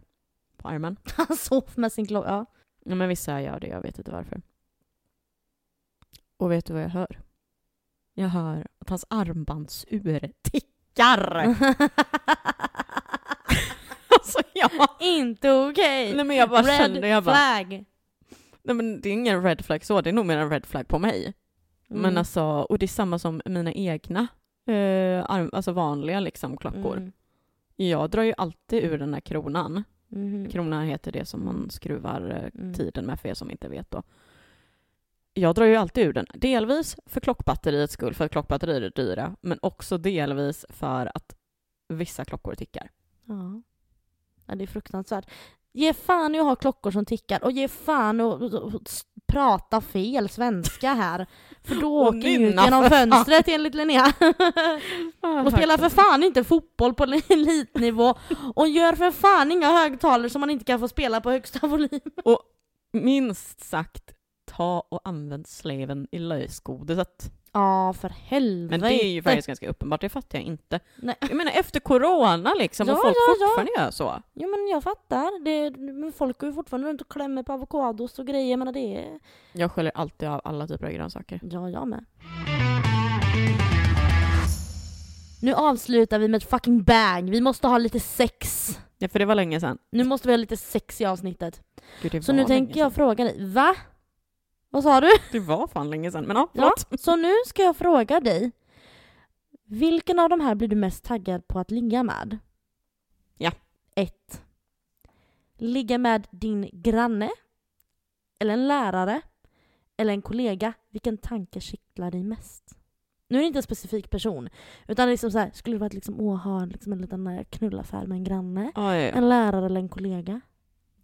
S2: på armen.
S1: Han sov med sin klocka. Ja.
S2: Ja, men vissa gör det, jag vet inte varför. Och vet du vad jag hör? Jag hör att hans armbandsur tickar! alltså jag...
S1: inte okej!
S2: Nej men jag bara kände, jag
S1: Red
S2: bara,
S1: flag!
S2: nej men det är ingen red flag så, det är nog mer en red flag på mig.
S1: Mm.
S2: Men alltså, och det är samma som mina egna eh, arm, alltså vanliga liksom klockor.
S1: Mm.
S2: Jag drar ju alltid ur den här kronan.
S1: Mhm.
S2: Krona heter det som man skruvar eh,
S1: Mm.
S2: tiden med för er som inte vet då. Jag drar ju alltid ur den. Delvis för klockbatteriets skull, för klockbatterier är dyra, men också delvis för att vissa klockor tickar.
S1: Ja. ja, det är fruktansvärt. Ge fan i att ha klockor som tickar och ge fan i att s- prata fel svenska här. För då
S2: Och
S1: åker ni ut
S2: nynna
S1: genom
S2: för fan.
S1: fönstret enligt Linnea. och spela för
S2: faktiskt.
S1: fan inte fotboll på elitnivå. Och gör för fan inga högtalare som man inte kan få spela på högsta volym.
S2: Minst sagt, ta och använd sleven i lösgodiset.
S1: Ja, för helvete.
S2: Men det är ju faktiskt ganska uppenbart, det fattar jag inte.
S1: Nej.
S2: Jag menar efter corona liksom,
S1: Ja,
S2: och folk
S1: ja, ja.
S2: fortfarande gör så.
S1: Jo men jag fattar. Det, men folk går ju fortfarande runt och klämmer på avokados och grejer. Men det är...
S2: Jag sköljer alltid av alla typer av grönsaker.
S1: Ja, jag med. Nu avslutar vi med ett fucking bang. Vi måste ha lite sex.
S2: Ja, för det var länge sedan.
S1: Nu måste vi ha lite sex i avsnittet.
S2: Gud, det
S1: Så
S2: var
S1: nu
S2: länge
S1: tänker jag
S2: sedan.
S1: fråga dig. Va? Vad sa du?
S2: Det var fan länge sedan, men ja,
S1: Ja,
S2: förlåt.
S1: så nu ska jag fråga dig. Vilken av de här blir du mest taggad på att ligga med?
S2: Ja.
S1: 1. Ligga med din granne? Eller en lärare? Eller en kollega? Vilken tanke kittlar dig mest? Nu är det inte en specifik person. Utan liksom så här, skulle det vara att liksom, åh, ha liksom en liten eh, knullaffär med en granne?
S2: Ja. Ja, ja.
S1: En lärare eller en kollega?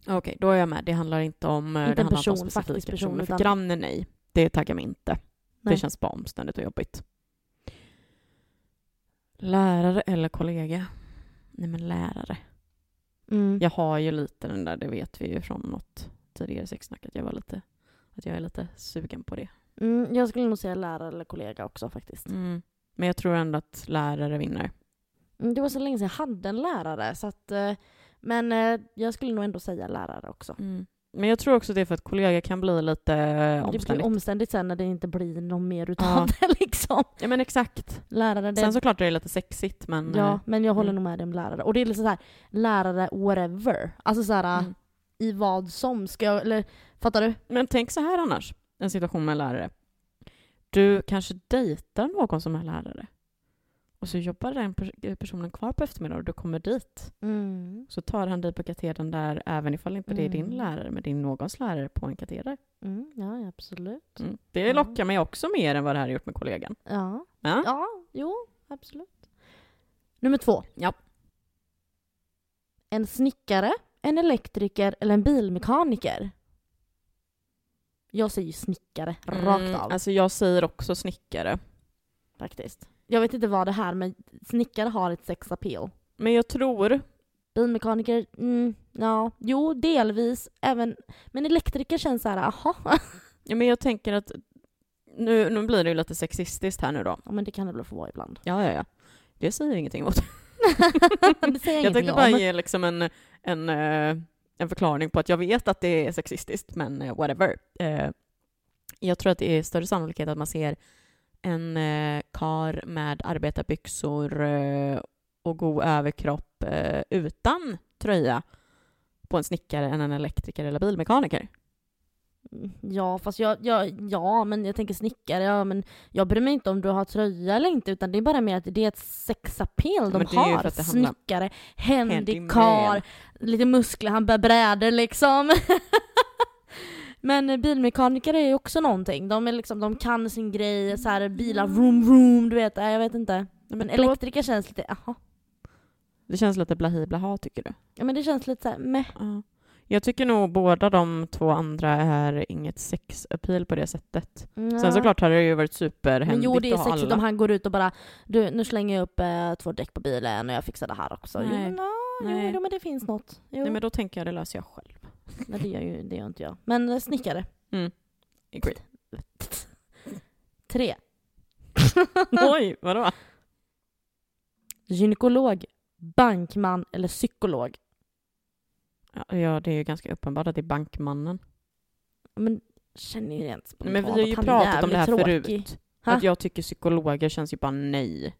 S2: Okej, då är jag med. Det handlar inte om, eh,
S1: Inte
S2: det
S1: en
S2: handlar inte om
S1: person,
S2: specifika
S1: faktisk person,
S2: personer. För
S1: utan-
S2: grannen, nej. Det taggar mig inte.
S1: Nej.
S2: Det känns bara omständigt och jobbigt. Lärare eller kollega? Nej men lärare.
S1: Mm.
S2: Jag har ju lite den där, det vet vi ju från något tidigare sexsnack, att jag var lite, att jag är lite sugen på det.
S1: Mm, jag skulle nog säga lärare eller kollega också faktiskt.
S2: Men jag tror ändå att lärare vinner.
S1: Mm, Det var så länge sedan jag hade en lärare. Så att, eh, men eh, jag skulle nog ändå säga lärare också.
S2: Men jag tror också det är för att kollega kan bli lite eh,
S1: Mm. Det blir
S2: omständigt.
S1: omständigt sen när det inte blir någon mer utav
S2: Ja.
S1: det liksom.
S2: Ja men exakt.
S1: Lärare, det...
S2: Sen såklart är det lite sexigt men...
S1: ja, men jag håller nog
S2: mm.
S1: med dig om lärare. Och det är liksom så här, lärare whatever. Alltså så här,
S2: eh, mm.
S1: i vad som. Ska jag, eller fattar du?
S2: Men tänk så här annars, en situation med en lärare. Du kanske dejtar någon som är lärare. Och så jobbar den pers- personen kvar på eftermiddagen och du kommer dit. Så tar han dig på katedern där även ifall inte det är din
S1: Mm.
S2: lärare men det är någons lärare på en kateder.
S1: Mm, ja, absolut.
S2: Mm. Det
S1: Mm.
S2: lockar mig också mer än vad det här har gjort med kollegan.
S1: Ja.
S2: Ja.
S1: ja, jo, absolut. Nummer två.
S2: Ja.
S1: En snickare, en elektriker eller en bilmekaniker? Jag säger ju snickare, rakt av
S2: Alltså jag säger också snickare.
S1: faktiskt. Jag vet inte vad det här, men snickare har ett sex appeal.
S2: Men jag tror...
S1: Bilmekaniker, mm, ja, jo, delvis. Även, men elektriker känns så här, aha.
S2: Ja, men jag tänker att... Nu, nu blir det ju lite sexistiskt här nu då.
S1: Ja, men det kan det väl få vara ibland.
S2: Ja, ja, ja. Det säger jag ingenting emot.
S1: det säger jag
S2: Jag
S1: ingenting
S2: tänkte
S1: om.
S2: bara ge liksom en, en, eh, en förklaring på att jag vet att det är sexistiskt, men eh, whatever. Eh, Jag tror att det är större sannolikhet att man ser en eh, kar med arbetarbyxor eh, och god överkropp eh, utan tröja på en snickare än en elektriker eller bilmekaniker.
S1: Mm, Ja, fast jag, jag, ja, men jag tänker snickare, ja, men jag bryr mig inte om du har tröja eller inte utan det är bara mer att det är ett sexappeal de
S2: men det är ju för
S1: har.
S2: att det handlar-
S1: Snickare,
S2: Handyman.
S1: handikar, lite muskler, han bär brädor liksom. men eh, bilmekaniker är ju också någonting. De, är liksom, de kan sin grej, så här, bilar vroom vroom, du vet, äh, jag vet inte.
S2: Nej,
S1: Men
S2: men då,
S1: elektriker känns lite, jaha.
S2: det känns lite blahi blaha, tycker du?
S1: Ja men det känns lite såhär, meh.
S2: Ja. Jag tycker nog båda de två andra är inget sexappeal på det sättet. Sen såklart hade det ju varit
S1: Men
S2: superhändigt
S1: jo, det är
S2: att ha
S1: sexigt
S2: alla.
S1: om han går ut och bara du, nu slänger jag upp eh, två däck på bilen och jag fixar det här också. Jo,
S2: Nej.
S1: men, ja, Jo,
S2: Nej.
S1: jo, men det finns något. Jo.
S2: Nej,
S1: Nej,
S2: men då tänker jag det löser jag själv.
S1: det, gör ju, det gör inte jag. Men eh, snickare.
S2: Agreed.
S1: Tre.
S2: Oj, vadå?
S1: Gynekolog, bankman eller psykolog.
S2: Ja, ja, det är ju ganska uppenbart att det är bankmannen.
S1: Men känner ju rent
S2: Nej,
S1: spontant
S2: men vi har ju
S1: att han är
S2: pratat om det här
S1: jävligt tråkig.
S2: förut.
S1: Ha?
S2: Att jag tycker psykologer känns ju bara nej.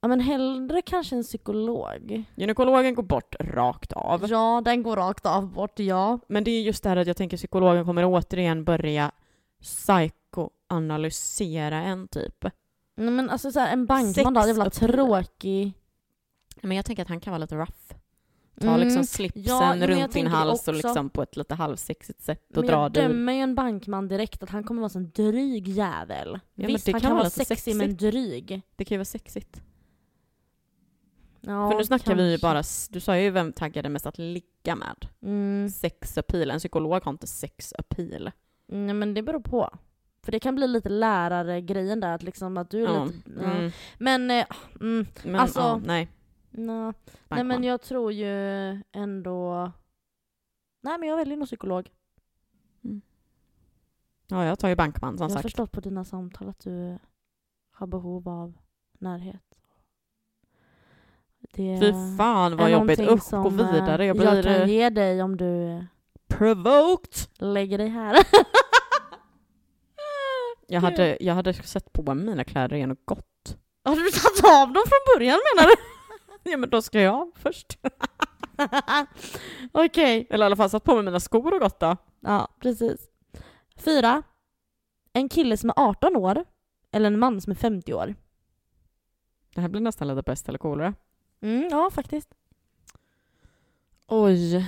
S1: Ja men hellre kanske en psykolog.
S2: Gynekologen går bort rakt av.
S1: Ja, den går rakt av bort, ja.
S2: Men det är just det här att jag tänker psykologen kommer återigen börja psykoanalysera en typ.
S1: Nej, men alltså så här, en bankman då, jävla
S2: Sexappeal.
S1: tråkig.
S2: Men jag tänker att han kan vara lite rough. Ta liksom
S1: Mm, Ja, jo, men
S2: slipsen
S1: jag
S2: runt din
S1: tänker det
S2: hals
S1: också.
S2: och liksom på ett lite halvsexigt sätt och
S1: Men
S2: dra
S1: jag
S2: dig
S1: dömer ju en bankman direkt att han kommer vara en dryg jävel.
S2: men
S1: Visst,
S2: det
S1: han
S2: kan
S1: kan
S2: vara
S1: vara
S2: lite
S1: sexig men dryg.
S2: Det kan ju vara sexigt.
S1: Ja,
S2: För nu snackar vi ju
S1: kanske.
S2: bara, s- du sa ju vem taggade mest att ligga med.
S1: Mm.
S2: Sexappeal, en psykolog har inte sexappeal.
S1: Nej Mm, men det beror på. För det kan bli lite lärare-grejen där, att liksom att du är
S2: Ja.
S1: lite... ja.
S2: Mm.
S1: Men, eh, mm,
S2: Men
S1: Alltså-
S2: ja, nej.
S1: nej. nej
S2: Bankman.
S1: men jag tror ju ändå... Nej men jag väljer nog psykolog.
S2: Mm. Ja, jag tar ju Bankman som
S1: jag har
S2: sagt.
S1: förstått på dina samtal att du har behov av närhet. Det
S2: Fy
S1: är
S2: fan vad jobbigt.
S1: någonting
S2: Usch, gå
S1: som, eh,
S2: vidare. Jag
S1: jag
S2: blir
S1: kan
S2: eh,
S1: ge dig om du eh,
S2: provoked.
S1: lägger dig här.
S2: Jag
S1: Gud.
S2: hade, jag hade sett på mig mina kläder igen och gått.
S1: Har du tagit av dem från början menar du?
S2: Ja men då ska jag av först.
S1: Okej.
S2: Eller i alla fall satt på mig mina skor och gått då.
S1: Ja, precis. Fyra. En kille som är 18 år eller en man som är 50 år.
S2: Det här blir nästan lite bäst eller coolare.
S1: Mm, ja, faktiskt.
S2: Oj.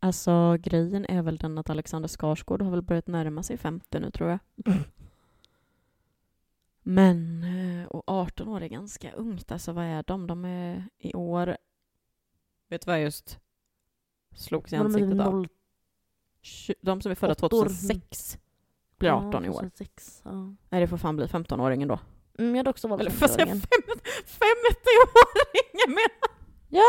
S2: Alltså grejen är väl den att Alexander Skarsgård har väl börjat närma sig 50 nu tror jag. Men, eh, och 18 år är ganska ungt. Alltså vad är de? De är i år... Vet du vad jag just slogs i
S1: Var de
S2: ansiktet
S1: typ
S2: av?
S1: noll-
S2: Tju- De som är födda
S1: Åttor.
S2: 2006 blir 18 i
S1: Ja,
S2: år.
S1: 2006, ja.
S2: Nej, det får fan bli 15-åringen då.
S1: Mm, jag hade också valt
S2: Eller får jag säga
S1: 50-åringen.
S2: 50 50-åringen menar
S1: Jag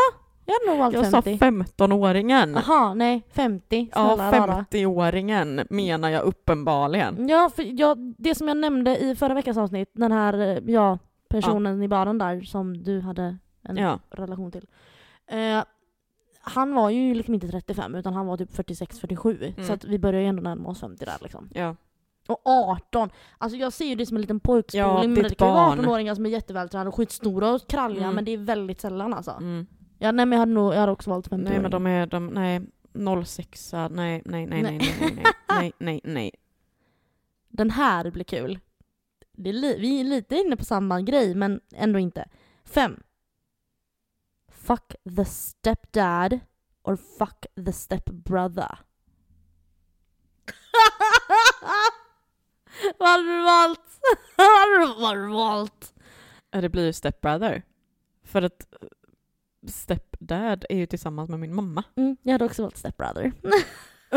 S1: hade nog valt
S2: jag? Jag sa
S1: 50.
S2: 15-åringen.
S1: Jaha, nej. 50.
S2: Ja,
S1: Snälla rara. Mm.
S2: 50-åringen menar jag uppenbarligen.
S1: Ja, för jag, det som jag nämnde i förra veckans avsnitt, den här eh, ja, personen i baren där som du hade en
S2: Ja,
S1: relation till. Eh, han var ju liksom inte 35 utan han var typ 46-47
S2: Mm.
S1: så att vi börjar ju ändå närma oss 50 där liksom.
S2: ja.
S1: Och 18! Alltså jag ser ju det som en liten pojkskoling
S2: Ja,
S1: men
S2: ditt
S1: det kan ju vara
S2: barn.
S1: 18-åringar som är jättevältränade och skitstora och kralliga
S2: Mm.
S1: men det är väldigt sällan alltså.
S2: Mm.
S1: Ja, nej men jag hade, nog, jag hade också valt 50
S2: Nej, men de är... De, nej, 06 nej, nej, nej, nej, nej, nej, nej, nej, nej.
S1: Den här blir kul. Det är li- vi är lite inne på samma grej men ändå inte. 5. Fuck the stepdad or fuck the stepbrother. Vad hade du valt? Vad hade du- vad hade du valt?
S2: Ja, Det blir ju stepbrother. För att eh, stepdad är ju tillsammans med min mamma.
S1: Mm, jag hade också valt stepbrother.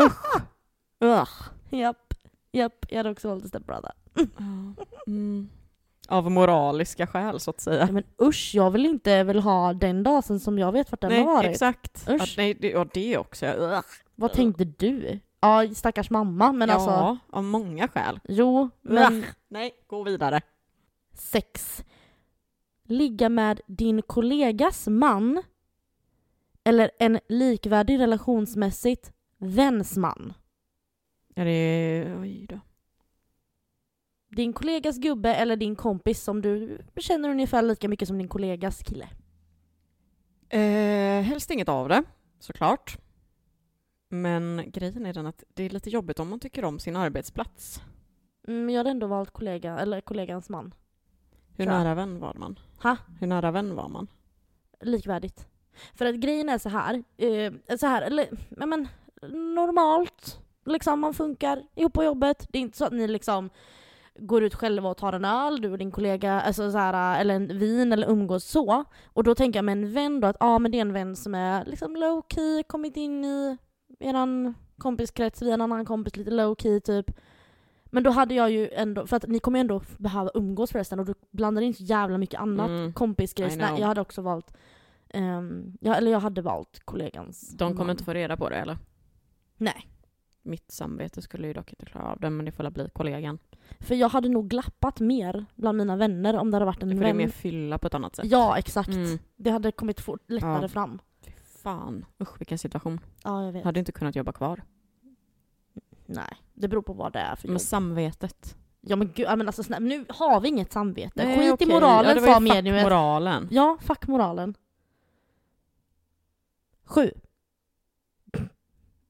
S2: Ugh.
S1: Japp. Japp, jag hade också valt stepbrother.
S2: Ja, Mm. Av moraliska skäl så att säga.
S1: Ja, men usch, jag vill inte väl ha den dagen som jag vet vart den
S2: nej,
S1: har varit.
S2: exakt.
S1: Usch.
S2: Att, nej, det, och det också. Ugh.
S1: Vad tänkte du? Ja, stackars mamma, men
S2: ja,
S1: alltså...
S2: av många skäl.
S1: Jo, men...
S2: Ugh. Nej, gå vidare.
S1: Sex. Ligga med din kollegas man eller en likvärdig relationsmässigt väns man.
S2: Ja, det är... Oj då.
S1: Din kollegas gubbe eller din kompis som du känner ungefär lika mycket som din kollegas kille.
S2: Eh, helst inget av det, såklart. Men grejen är den att det är lite jobbigt om man tycker om sin arbetsplats.
S1: Mm, jag hade ändå valt kollega, eller kollegans man.
S2: Hur
S1: Ja.
S2: nära vän var man?
S1: Ha?
S2: Hur nära vän var man?
S1: likvärdigt. För att grejen är så här, eh, så här eller, ja, men, normalt, liksom man funkar ihop på jobbet. Det är inte så att ni liksom går ut själva och tar en öl, du och din kollega, alltså så här, eller en vin eller umgås så. Och då tänker jag med en vän då att ah, men det är en vän som är liksom low key, kommit in i eran kompiskrets via en annan kompis, lite low key typ. Men då hade jag ju ändå, för att ni kommer ju ändå behöva umgås förresten och du blandar in så jävla mycket annat
S2: Mm.
S1: kompisgrejs.
S2: I
S1: Nej,
S2: know.
S1: Jag hade också valt, ehm, ja, eller jag hade valt kollegans
S2: De kommer
S1: man.
S2: inte få reda på det, eller?
S1: Nej.
S2: Mitt samvete skulle ju dock inte klara av det, men det får väl bli kollegan.
S1: För jag hade nog glappat mer bland mina vänner om det hade varit
S2: Det
S1: en
S2: får det mer
S1: vän.
S2: fylla på ett annat sätt.
S1: Ja, exakt.
S2: Mm.
S1: Det hade kommit fort, lättare
S2: Ja.
S1: fram.
S2: Fy fan, usch vilken situation.
S1: Ja, jag vet.
S2: Hade inte kunnat jobba kvar.
S1: Nej, det beror på vad det är för jobb.
S2: Men samvetet.
S1: Ja men gud, ja, men alltså snälla, nu har vi inget samvete.
S2: Nej,
S1: Skit
S2: okej.
S1: i moralen
S2: det var ju
S1: sa
S2: fuck
S1: mediumet.
S2: moralen.
S1: Ja, fuck moralen. Sju.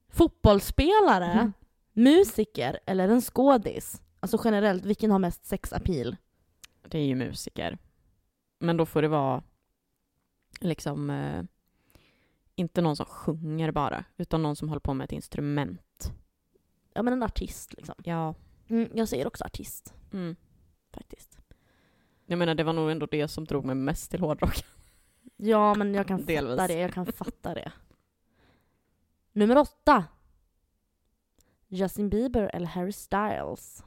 S1: Fotbollsspelare,
S2: Mm.
S1: musiker eller en skådis? Alltså generellt, vilken har mest sexappeal?
S2: Det är ju musiker. Men då får det vara liksom eh, inte någon som sjunger bara, utan någon som håller på med ett instrument.
S1: Ja men en artist liksom.
S2: Ja.
S1: Mm, jag säger också artist
S2: Mm.
S1: faktiskt.
S2: Jag menar, det var nog ändå det som drog mig mest till hårdrock.
S1: Ja, men jag kan
S2: Delvis.
S1: fatta det. Jag kan fatta det. Nummer åtta. Justin Bieber eller Harry Styles?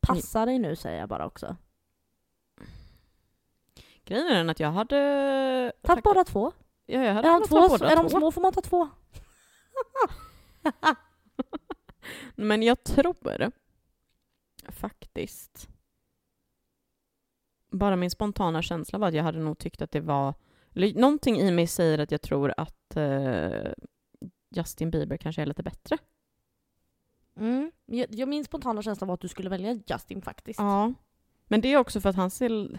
S1: Passa dig nu säger jag bara också.
S2: Grejen är den att jag hade...
S1: Ta båda två.
S2: Ja, jag hade
S1: Är de,
S2: kunnat
S1: två,
S2: ta båda
S1: är de
S2: två.
S1: små får man ta två.
S2: Men jag tror faktiskt... Bara min spontana känsla var att jag hade nog tyckt att det var... eller Någonting i mig säger att jag tror att eh, Justin Bieber kanske är lite bättre.
S1: Mm. Jag, jag, min spontana känsla var att du skulle välja Justin faktiskt.
S2: Ja. Men det är också för att han ser...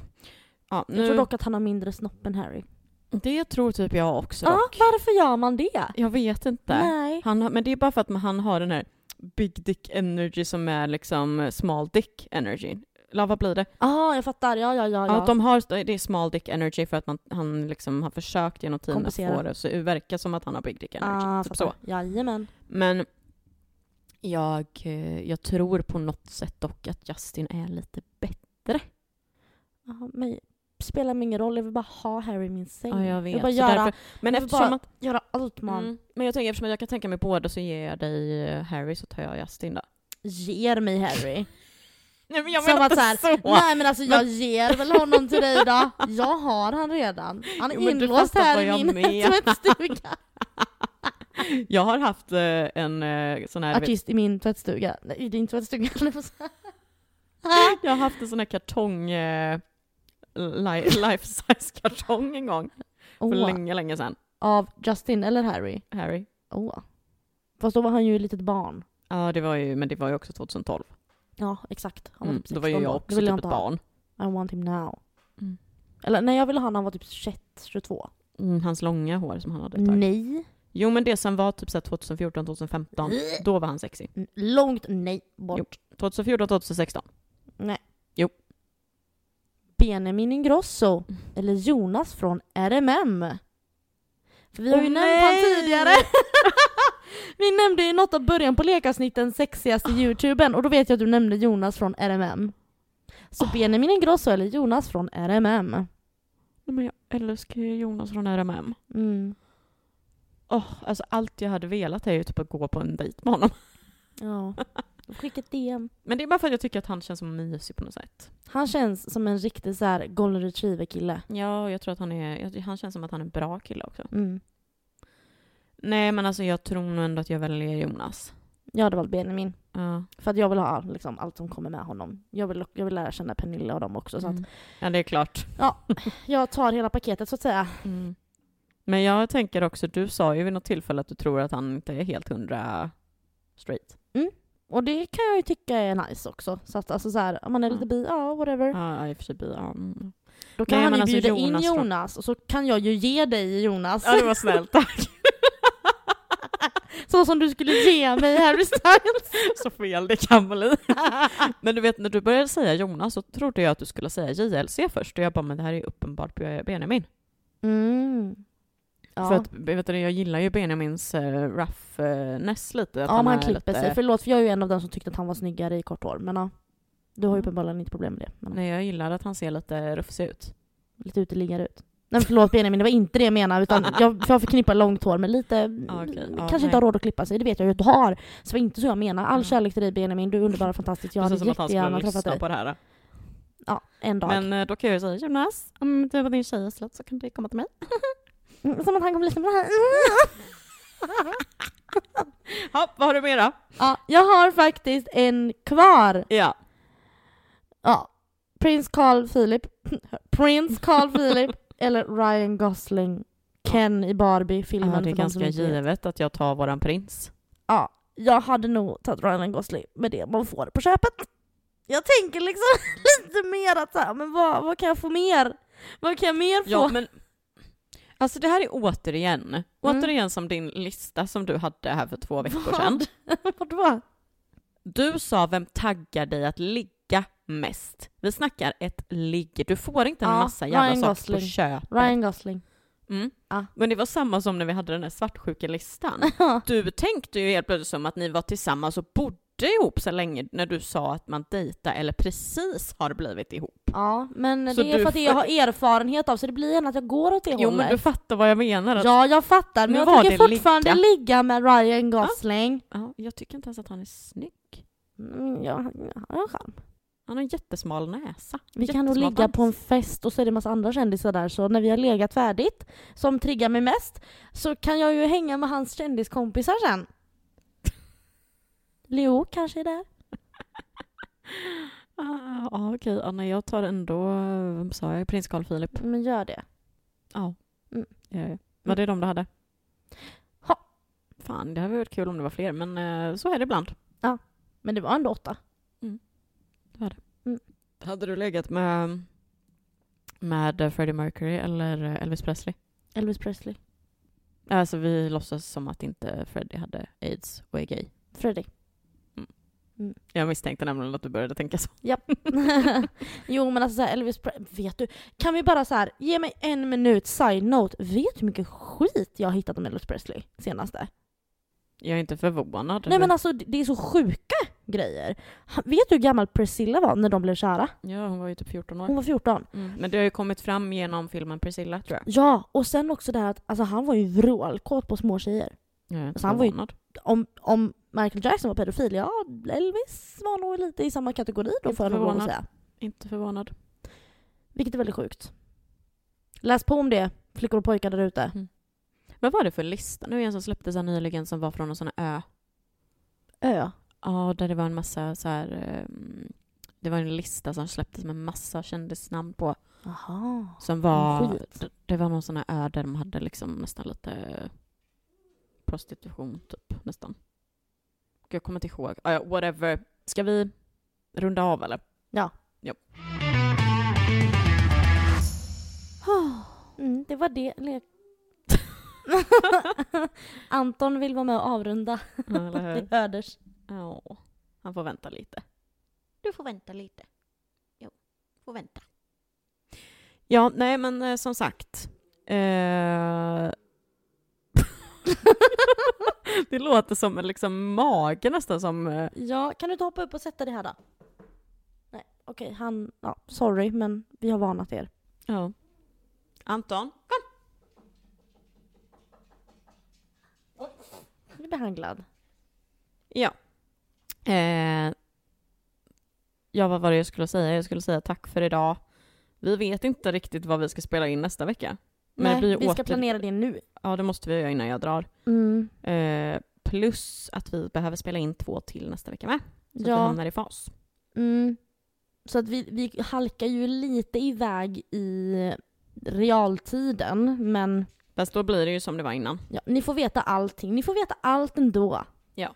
S2: Ja,
S1: Jag tror
S2: nu,
S1: dock att han har mindre snopp än Harry.
S2: det tror typ jag också.
S1: Ja,
S2: dock.
S1: varför gör man det?
S2: Jag vet inte.
S1: Nej.
S2: Han, har- men det är bara för att han har den här big dick energy som är liksom small dick energy. Eller vad blir det?
S1: Ja, jag fattar. Ja, ja, ja.
S2: Ja.
S1: ja.
S2: Att de har, det är small dick energy för att man, han liksom har försökt genom tiden att
S1: Kompensera.
S2: få det så det verkar som att han har big dick energy.
S1: ah,
S2: typ
S1: fattar.
S2: så.
S1: Jajamän.
S2: Men jag, eh, jag tror på något sätt dock att Justin är lite bättre.
S1: Ja, men spelar mig ingen roll, jag vill bara ha Harry i min säng.
S2: Ja, jag
S1: vill
S2: vet.
S1: bara
S2: Så
S1: göra,
S2: därför, men
S1: jag vill
S2: eftersom
S1: bara-
S2: att...
S1: göra allt man
S2: Mm, men jag tänker eftersom att jag kan tänka mig båda så ger jag dig eh, Harry så tar jag Justin då.
S1: ger mig Harry.
S2: Nej men jag
S1: Som
S2: menar
S1: att
S2: inte
S1: så
S2: så!
S1: här, Nej men alltså jag ger väl honom till dig då. Jag har han redan. Han är
S2: Jo, men du
S1: inlåst
S2: fattar
S1: här
S2: vad
S1: i
S2: jag
S1: min
S2: menar.
S1: tvättstuga.
S2: Jag har haft eh, en eh, sån här...
S1: Artist i min tvättstuga. Nej, i din tvättstuga. höll jag på att säga.
S2: Jag har haft en sån här kartong... Eh, li- life size kartong en gång. För
S1: Åh,
S2: länge, länge sedan.
S1: Av Justin eller Harry?
S2: Harry.
S1: Åh. Fast då var han ju ett litet barn.
S2: Ja, det var ju, men det var ju också 2012.
S1: Ja, exakt. Han var
S2: Mm.
S1: typ
S2: Då var ju
S1: 16
S2: jag
S1: då.
S2: också
S1: Då ville
S2: typ
S1: jag
S2: ett
S1: inte ha
S2: barn.
S1: han. I want him now.
S2: Mm.
S1: Eller nej, jag ville ha när han var typ 21, 22.
S2: Mm, hans långa hår som han hade ett tag.
S1: Nej.
S2: Jo, men det som var typ så här 2014, 2015, då var han sexig.
S1: N- Långt nej bort.
S2: Jo. 2014, 2016.
S1: Benjamin Ingrosso
S2: Mm.
S1: eller Jonas från RMM. För vi har ju
S2: Åh,
S1: nämnt han
S2: nej!
S1: tidigare. vi nämnde ju något av början på lekavsnitten sexigaste
S2: Ah.
S1: youtuben och då vet jag att du nämnde Jonas från RMM.
S2: Ah.
S1: Så Benjamin Ingrosso eller Jonas från RMM.
S2: Nej, men jag älskar ju Jonas från RMM.
S1: Mm.
S2: Åh, alltså allt jag hade velat är ju typ att gå på en dejt med honom.
S1: Ja. Skicka ett DM.
S2: Men det är bara för att jag tycker att han känns som mysig på något sätt.
S1: Han känns som en riktig så här golden retriever kille.
S2: Ja, jag tror att han är, jag- han känns som att han är en bra kille också.
S1: Mm.
S2: Nej, men alltså jag tror nog ändå att jag väljer Jonas.
S1: Jag hade valt Benjamin.
S2: Ja.
S1: För att jag vill ha liksom, allt som kommer med honom. Jag vill, jag vill lära känna Pernilla och dem också. Så att
S2: Mm. Ja, det är klart.
S1: jag tar hela paketet så att säga.
S2: Men jag tänker också, du sa ju vid något tillfälle att du tror att han inte är helt hundra straight.
S1: Och det kan jag ju tycka är nice också. Så att alltså så här, om man är lite
S2: Mm.
S1: bi, ja whatever.
S2: Ja, i och för sig. Ja, mm.
S1: Då kan
S2: Nej,
S1: han
S2: men
S1: ju
S2: alltså
S1: bjuda in
S2: Jonas från-
S1: Jonas och så kan jag ju ge dig Jonas.
S2: ja det var snällt. Tack.
S1: så som du skulle ge mig Harry Styles.
S2: Så fel det kan bli. Men du vet, när du började säga Jonas så trodde jag att du skulle säga JLC först. Och jag bara, men det här är ju uppenbart Benjamin.
S1: Mm. Ja,
S2: För att, vet du, jag gillar ju Benjamins uh, roughness lite. Att
S1: ja om han
S2: är
S1: klipper
S2: lite...
S1: sig. Förlåt för jag är ju en av dem som tyckte att han var snyggare i kort hår. Men ja, du har ju
S2: Mm.
S1: uppenbarligen inte problem med det. Men,
S2: Nej, jag gillar att han ser lite rufsig ut.
S1: Lite uteliggare ut. Nej men förlåt Benjamin, det var inte det jag menade. Utan jag, för jag förknippar långt hår med lite,
S2: Ja, Ah, okej. Ja,
S1: kanske
S2: nej.
S1: inte har råd att klippa sig. Det vet jag ju att du har. Så det var inte så jag menar. All
S2: Mm.
S1: kärlek till dig Benjamin, du är underbar och fantastisk. Jag hade
S2: Precis som att han skulle
S1: jättegärna träffat
S2: lyssna
S1: dig.
S2: på det här.
S1: Ja, en dag.
S2: Men eh, då kan jag ju säga Jonas, om du var din tjej är slut så kan du komma till mig.
S1: Mm, Som att han kommer lyssna på det här.
S2: Ja, vad har du mer då?
S1: Ja, jag har faktiskt en kvar.
S2: Ja.
S1: Ja. Prins Carl Philip. Prins Carl Philip eller Ryan Gosling. Ken i Barbie-filmen.
S2: ja
S1: för
S2: Ah, det är
S1: de som
S2: ganska
S1: inte vet.
S2: givet att jag tar våran prins.
S1: Ja, jag hade nog tagit Ryan Gosling med det man får på köpet. Jag tänker liksom lite mer att så här, men vad, vad kan jag få mer? Vad kan jag mer få?
S2: Ja, men... Alltså det här är återigen, återigen som din lista som du hade här för två veckor sedan.
S1: Vadå?
S2: Du sa vem taggar dig att ligga mest? Vi snackar ett ligg. Du får inte en
S1: Ja,
S2: massa jävla
S1: Ryan
S2: saker
S1: Gosling.
S2: på köpet.
S1: Ryan Gosling.
S2: Mm.
S1: Ja.
S2: Men det var samma som när vi hade den här svartsjukelistan. Du tänkte ju helt plötsligt som att ni var tillsammans och bodde ihop så länge när du sa att man dejtar eller precis har blivit ihop.
S1: Ja, men
S2: Så
S1: det är
S2: du
S1: för att det
S2: får-
S1: jag har erfarenhet av så det blir gärna att jag går åt det
S2: Jo men
S1: hållet.
S2: du fattar vad jag menar. Att,
S1: Ja, jag fattar.
S2: Nu
S1: Men
S2: var
S1: jag tycker
S2: det
S1: fortfarande ligga. med Ryan Gosling.
S2: ja, jag tycker inte ens att han är snygg.
S1: Mm, ja, han har en charm.
S2: Han har en jättesmal näsa.
S1: Vi kan nog
S2: jättesmal
S1: ligga på en
S2: hals.
S1: fest och så är det en massa andra kändisar där så när vi har legat färdigt, som triggar mig mest, så kan jag ju hänga med hans kändiskompisar sen. Leo kanske är där.
S2: Ah, ah, okej, ja, nej, jag tar ändå, eh, vem sa jag, prins Carl Philip.
S1: Men gör det.
S2: Ja.
S1: Mm.
S2: Ja, ja. Men det är de du hade?
S1: Ha.
S2: Fan, det hade varit kul om det var fler, men eh, så är det ibland.
S1: Men det var ändå åtta.
S2: Hade du legat med, med Freddie Mercury eller Elvis Presley?
S1: Elvis Presley.
S2: Alltså vi låtsas som att inte Freddie hade aids och är gay.
S1: Freddy.
S2: Jag misstänkte nämligen att du började tänka så.
S1: jo men alltså så här, Elvis Pre- vet du? Kan vi bara så här, ge mig en minut side-note. Vet du hur mycket skit jag har hittat om Elvis Presley senaste?
S2: Jag är inte förvånad.
S1: Nej men alltså det det är så sjuka grejer. Han- Vet du hur gammal Priscilla var när de blev kära?
S2: Ja, hon var ju typ 14 år.
S1: Hon var 14.
S2: Mm. Men det har ju kommit fram genom filmen Priscilla tror jag.
S1: Ja, och sen också det här att alltså, han var ju vrålkåt på små tjejer.
S2: Jag är inte
S1: Så han var ju-
S2: förvånad.
S1: Om, om Michael Jackson var pedofil, ja Elvis var nog lite i samma kategori då
S2: Inte
S1: får jag nog lov att
S2: förvånad.
S1: säga.
S2: Inte förvånad.
S1: Vilket är väldigt sjukt. Läs på om det, flickor och pojkar där ute.
S2: Vad var det för lista nu igen som släpptes här nyligen som var från en sån här ö?
S1: Ö.
S2: Ja, där det var en massa så här... ehm, Det var en lista som släpptes med massa kändisnamn på.
S1: Jaha.
S2: Som var...
S1: Skit.
S2: d- Det var någon sån här ö där de hade liksom nästan lite prostitution, typ. Nästan. Jag kommer inte ihåg. Ah, ja, whatever. Ska vi runda av eller?
S1: Mm, det var det. Eller- Anton vill vara med och avrunda.
S2: eller hur?
S1: Det hördes.
S2: Ja, han får vänta lite.
S3: Du får vänta lite. Jo, får vänta.
S2: Ja, nej men eh, som sagt. Eh... det låter som en liksom mage nästan som... eh,
S1: Ja, kan du inte hoppa upp och sätta dig här då? Nej, okej, han... Ja, sorry, men vi har varnat er.
S2: Ja. Anton?
S1: Nu blir han glad.
S2: Ja. Eh... Ja, vad var det jag skulle säga? Jag skulle säga tack för idag. Vi vet inte riktigt vad vi ska spela in nästa vecka. Men det
S1: Nej,
S2: blir ju
S1: vi ska
S2: åter-
S1: planera det nu.
S2: Ja, det måste vi göra innan jag drar.
S1: Mm.
S2: Eh, plus att vi behöver spela in två till nästa vecka med. Så att vi
S1: Ja.
S2: hamnar i fas.
S1: Mm. Så att vi, vi halkar ju lite iväg i realtiden, men
S2: Fast då blir det ju som det var innan.
S1: ja, ni får veta allting. Ni får veta allt ändå.
S2: Ja,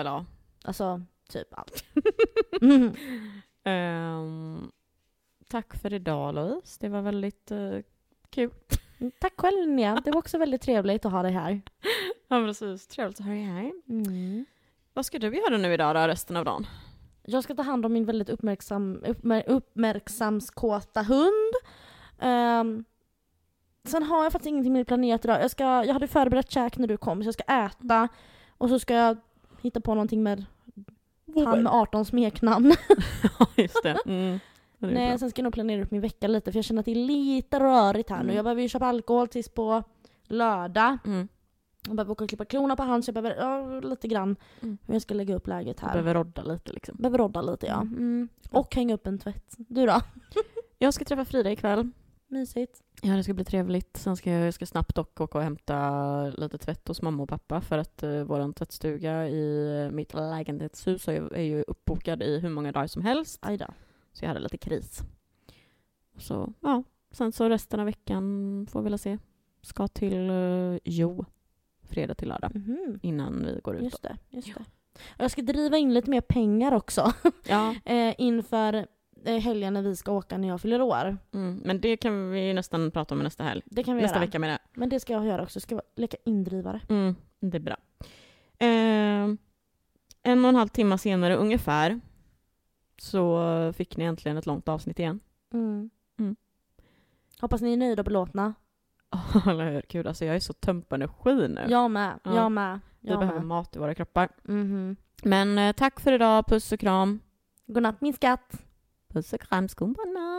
S2: eller ja.
S1: Alltså, typ allt. Mm.
S2: Ehm, tack för idag Louise, det var väldigt eh, kul.
S1: Tack själv Linnea, det var också väldigt trevligt att ha dig här.
S2: Ja precis, trevligt att höra här.
S1: Mm.
S2: Vad ska du göra nu idag då, resten av dagen?
S1: Jag ska ta hand om min väldigt uppmärksam, uppmär, uppmärksamskåta hund. Ehm, sen har jag faktiskt ingenting mer planerat idag. Jag, ska, jag hade förberett käk när du kom, så jag ska äta och så ska jag hitta på någonting med han med 18 smeknamn.
S2: Ja just det. Mm. Det är
S1: Nej,
S2: bra.
S1: sen ska jag nog planera upp min vecka lite för jag känner att det är lite rörigt här nu.
S2: Mm.
S1: Jag behöver ju köpa alkohol tills på lördag.
S2: Mm.
S1: Jag behöver åka och klippa klorna på hans, jag behöver ja, lite grann
S2: Mm.
S1: hur jag ska lägga upp läget
S2: Du
S1: här.
S2: behöver rodda lite liksom.
S1: behöver rodda lite ja.
S2: Mm.
S1: Mm. Och hänga upp en tvätt. Du då?
S2: Jag ska träffa Frida ikväll.
S1: Mysigt.
S2: Ja det ska bli trevligt. Sen ska jag, jag ska snabbt dock åka och hämta lite tvätt hos mamma och pappa för att eh, vår tvättstuga i eh, mitt lägenhetshus är ju, är ju uppbokad i hur många dagar som helst.
S1: Aj då.
S2: Så jag hade lite kris. Så ja, sen så resten av veckan får vi väl se. Ska till eh, Jo, fredag till lördag
S1: Mhm.
S2: innan vi går ut.
S1: Just
S2: Då.
S1: det. Just
S2: Ja.
S1: det. Och Jag ska driva in lite mer pengar också
S2: Ja,
S1: eh, inför eh, helgen när vi ska åka när jag fyller år.
S2: mm, men det kan vi nästan prata om i nästa helg.
S1: Det kan vi
S2: Nästa
S1: göra.
S2: vecka med det.
S1: Men det ska jag göra också. Jag ska vara- leka indrivare.
S2: Mm, det är bra. Eh, en och en halv timme senare ungefär så fick ni äntligen ett långt avsnitt igen.
S1: Mm.
S2: Mm.
S1: Hoppas ni är nöjda och belåtna.
S2: Eller hur? Gud, alltså jag är så tömt på energi nu.
S1: Jag med,
S2: Ja.
S1: jag med.
S2: Vi
S1: Jag
S2: behöver
S1: med.
S2: mat i våra kroppar.
S1: Mhm.
S2: Men eh, tack för idag. Puss och kram.
S1: Godnatt min skatt.
S2: Puss och kram, skumpanna.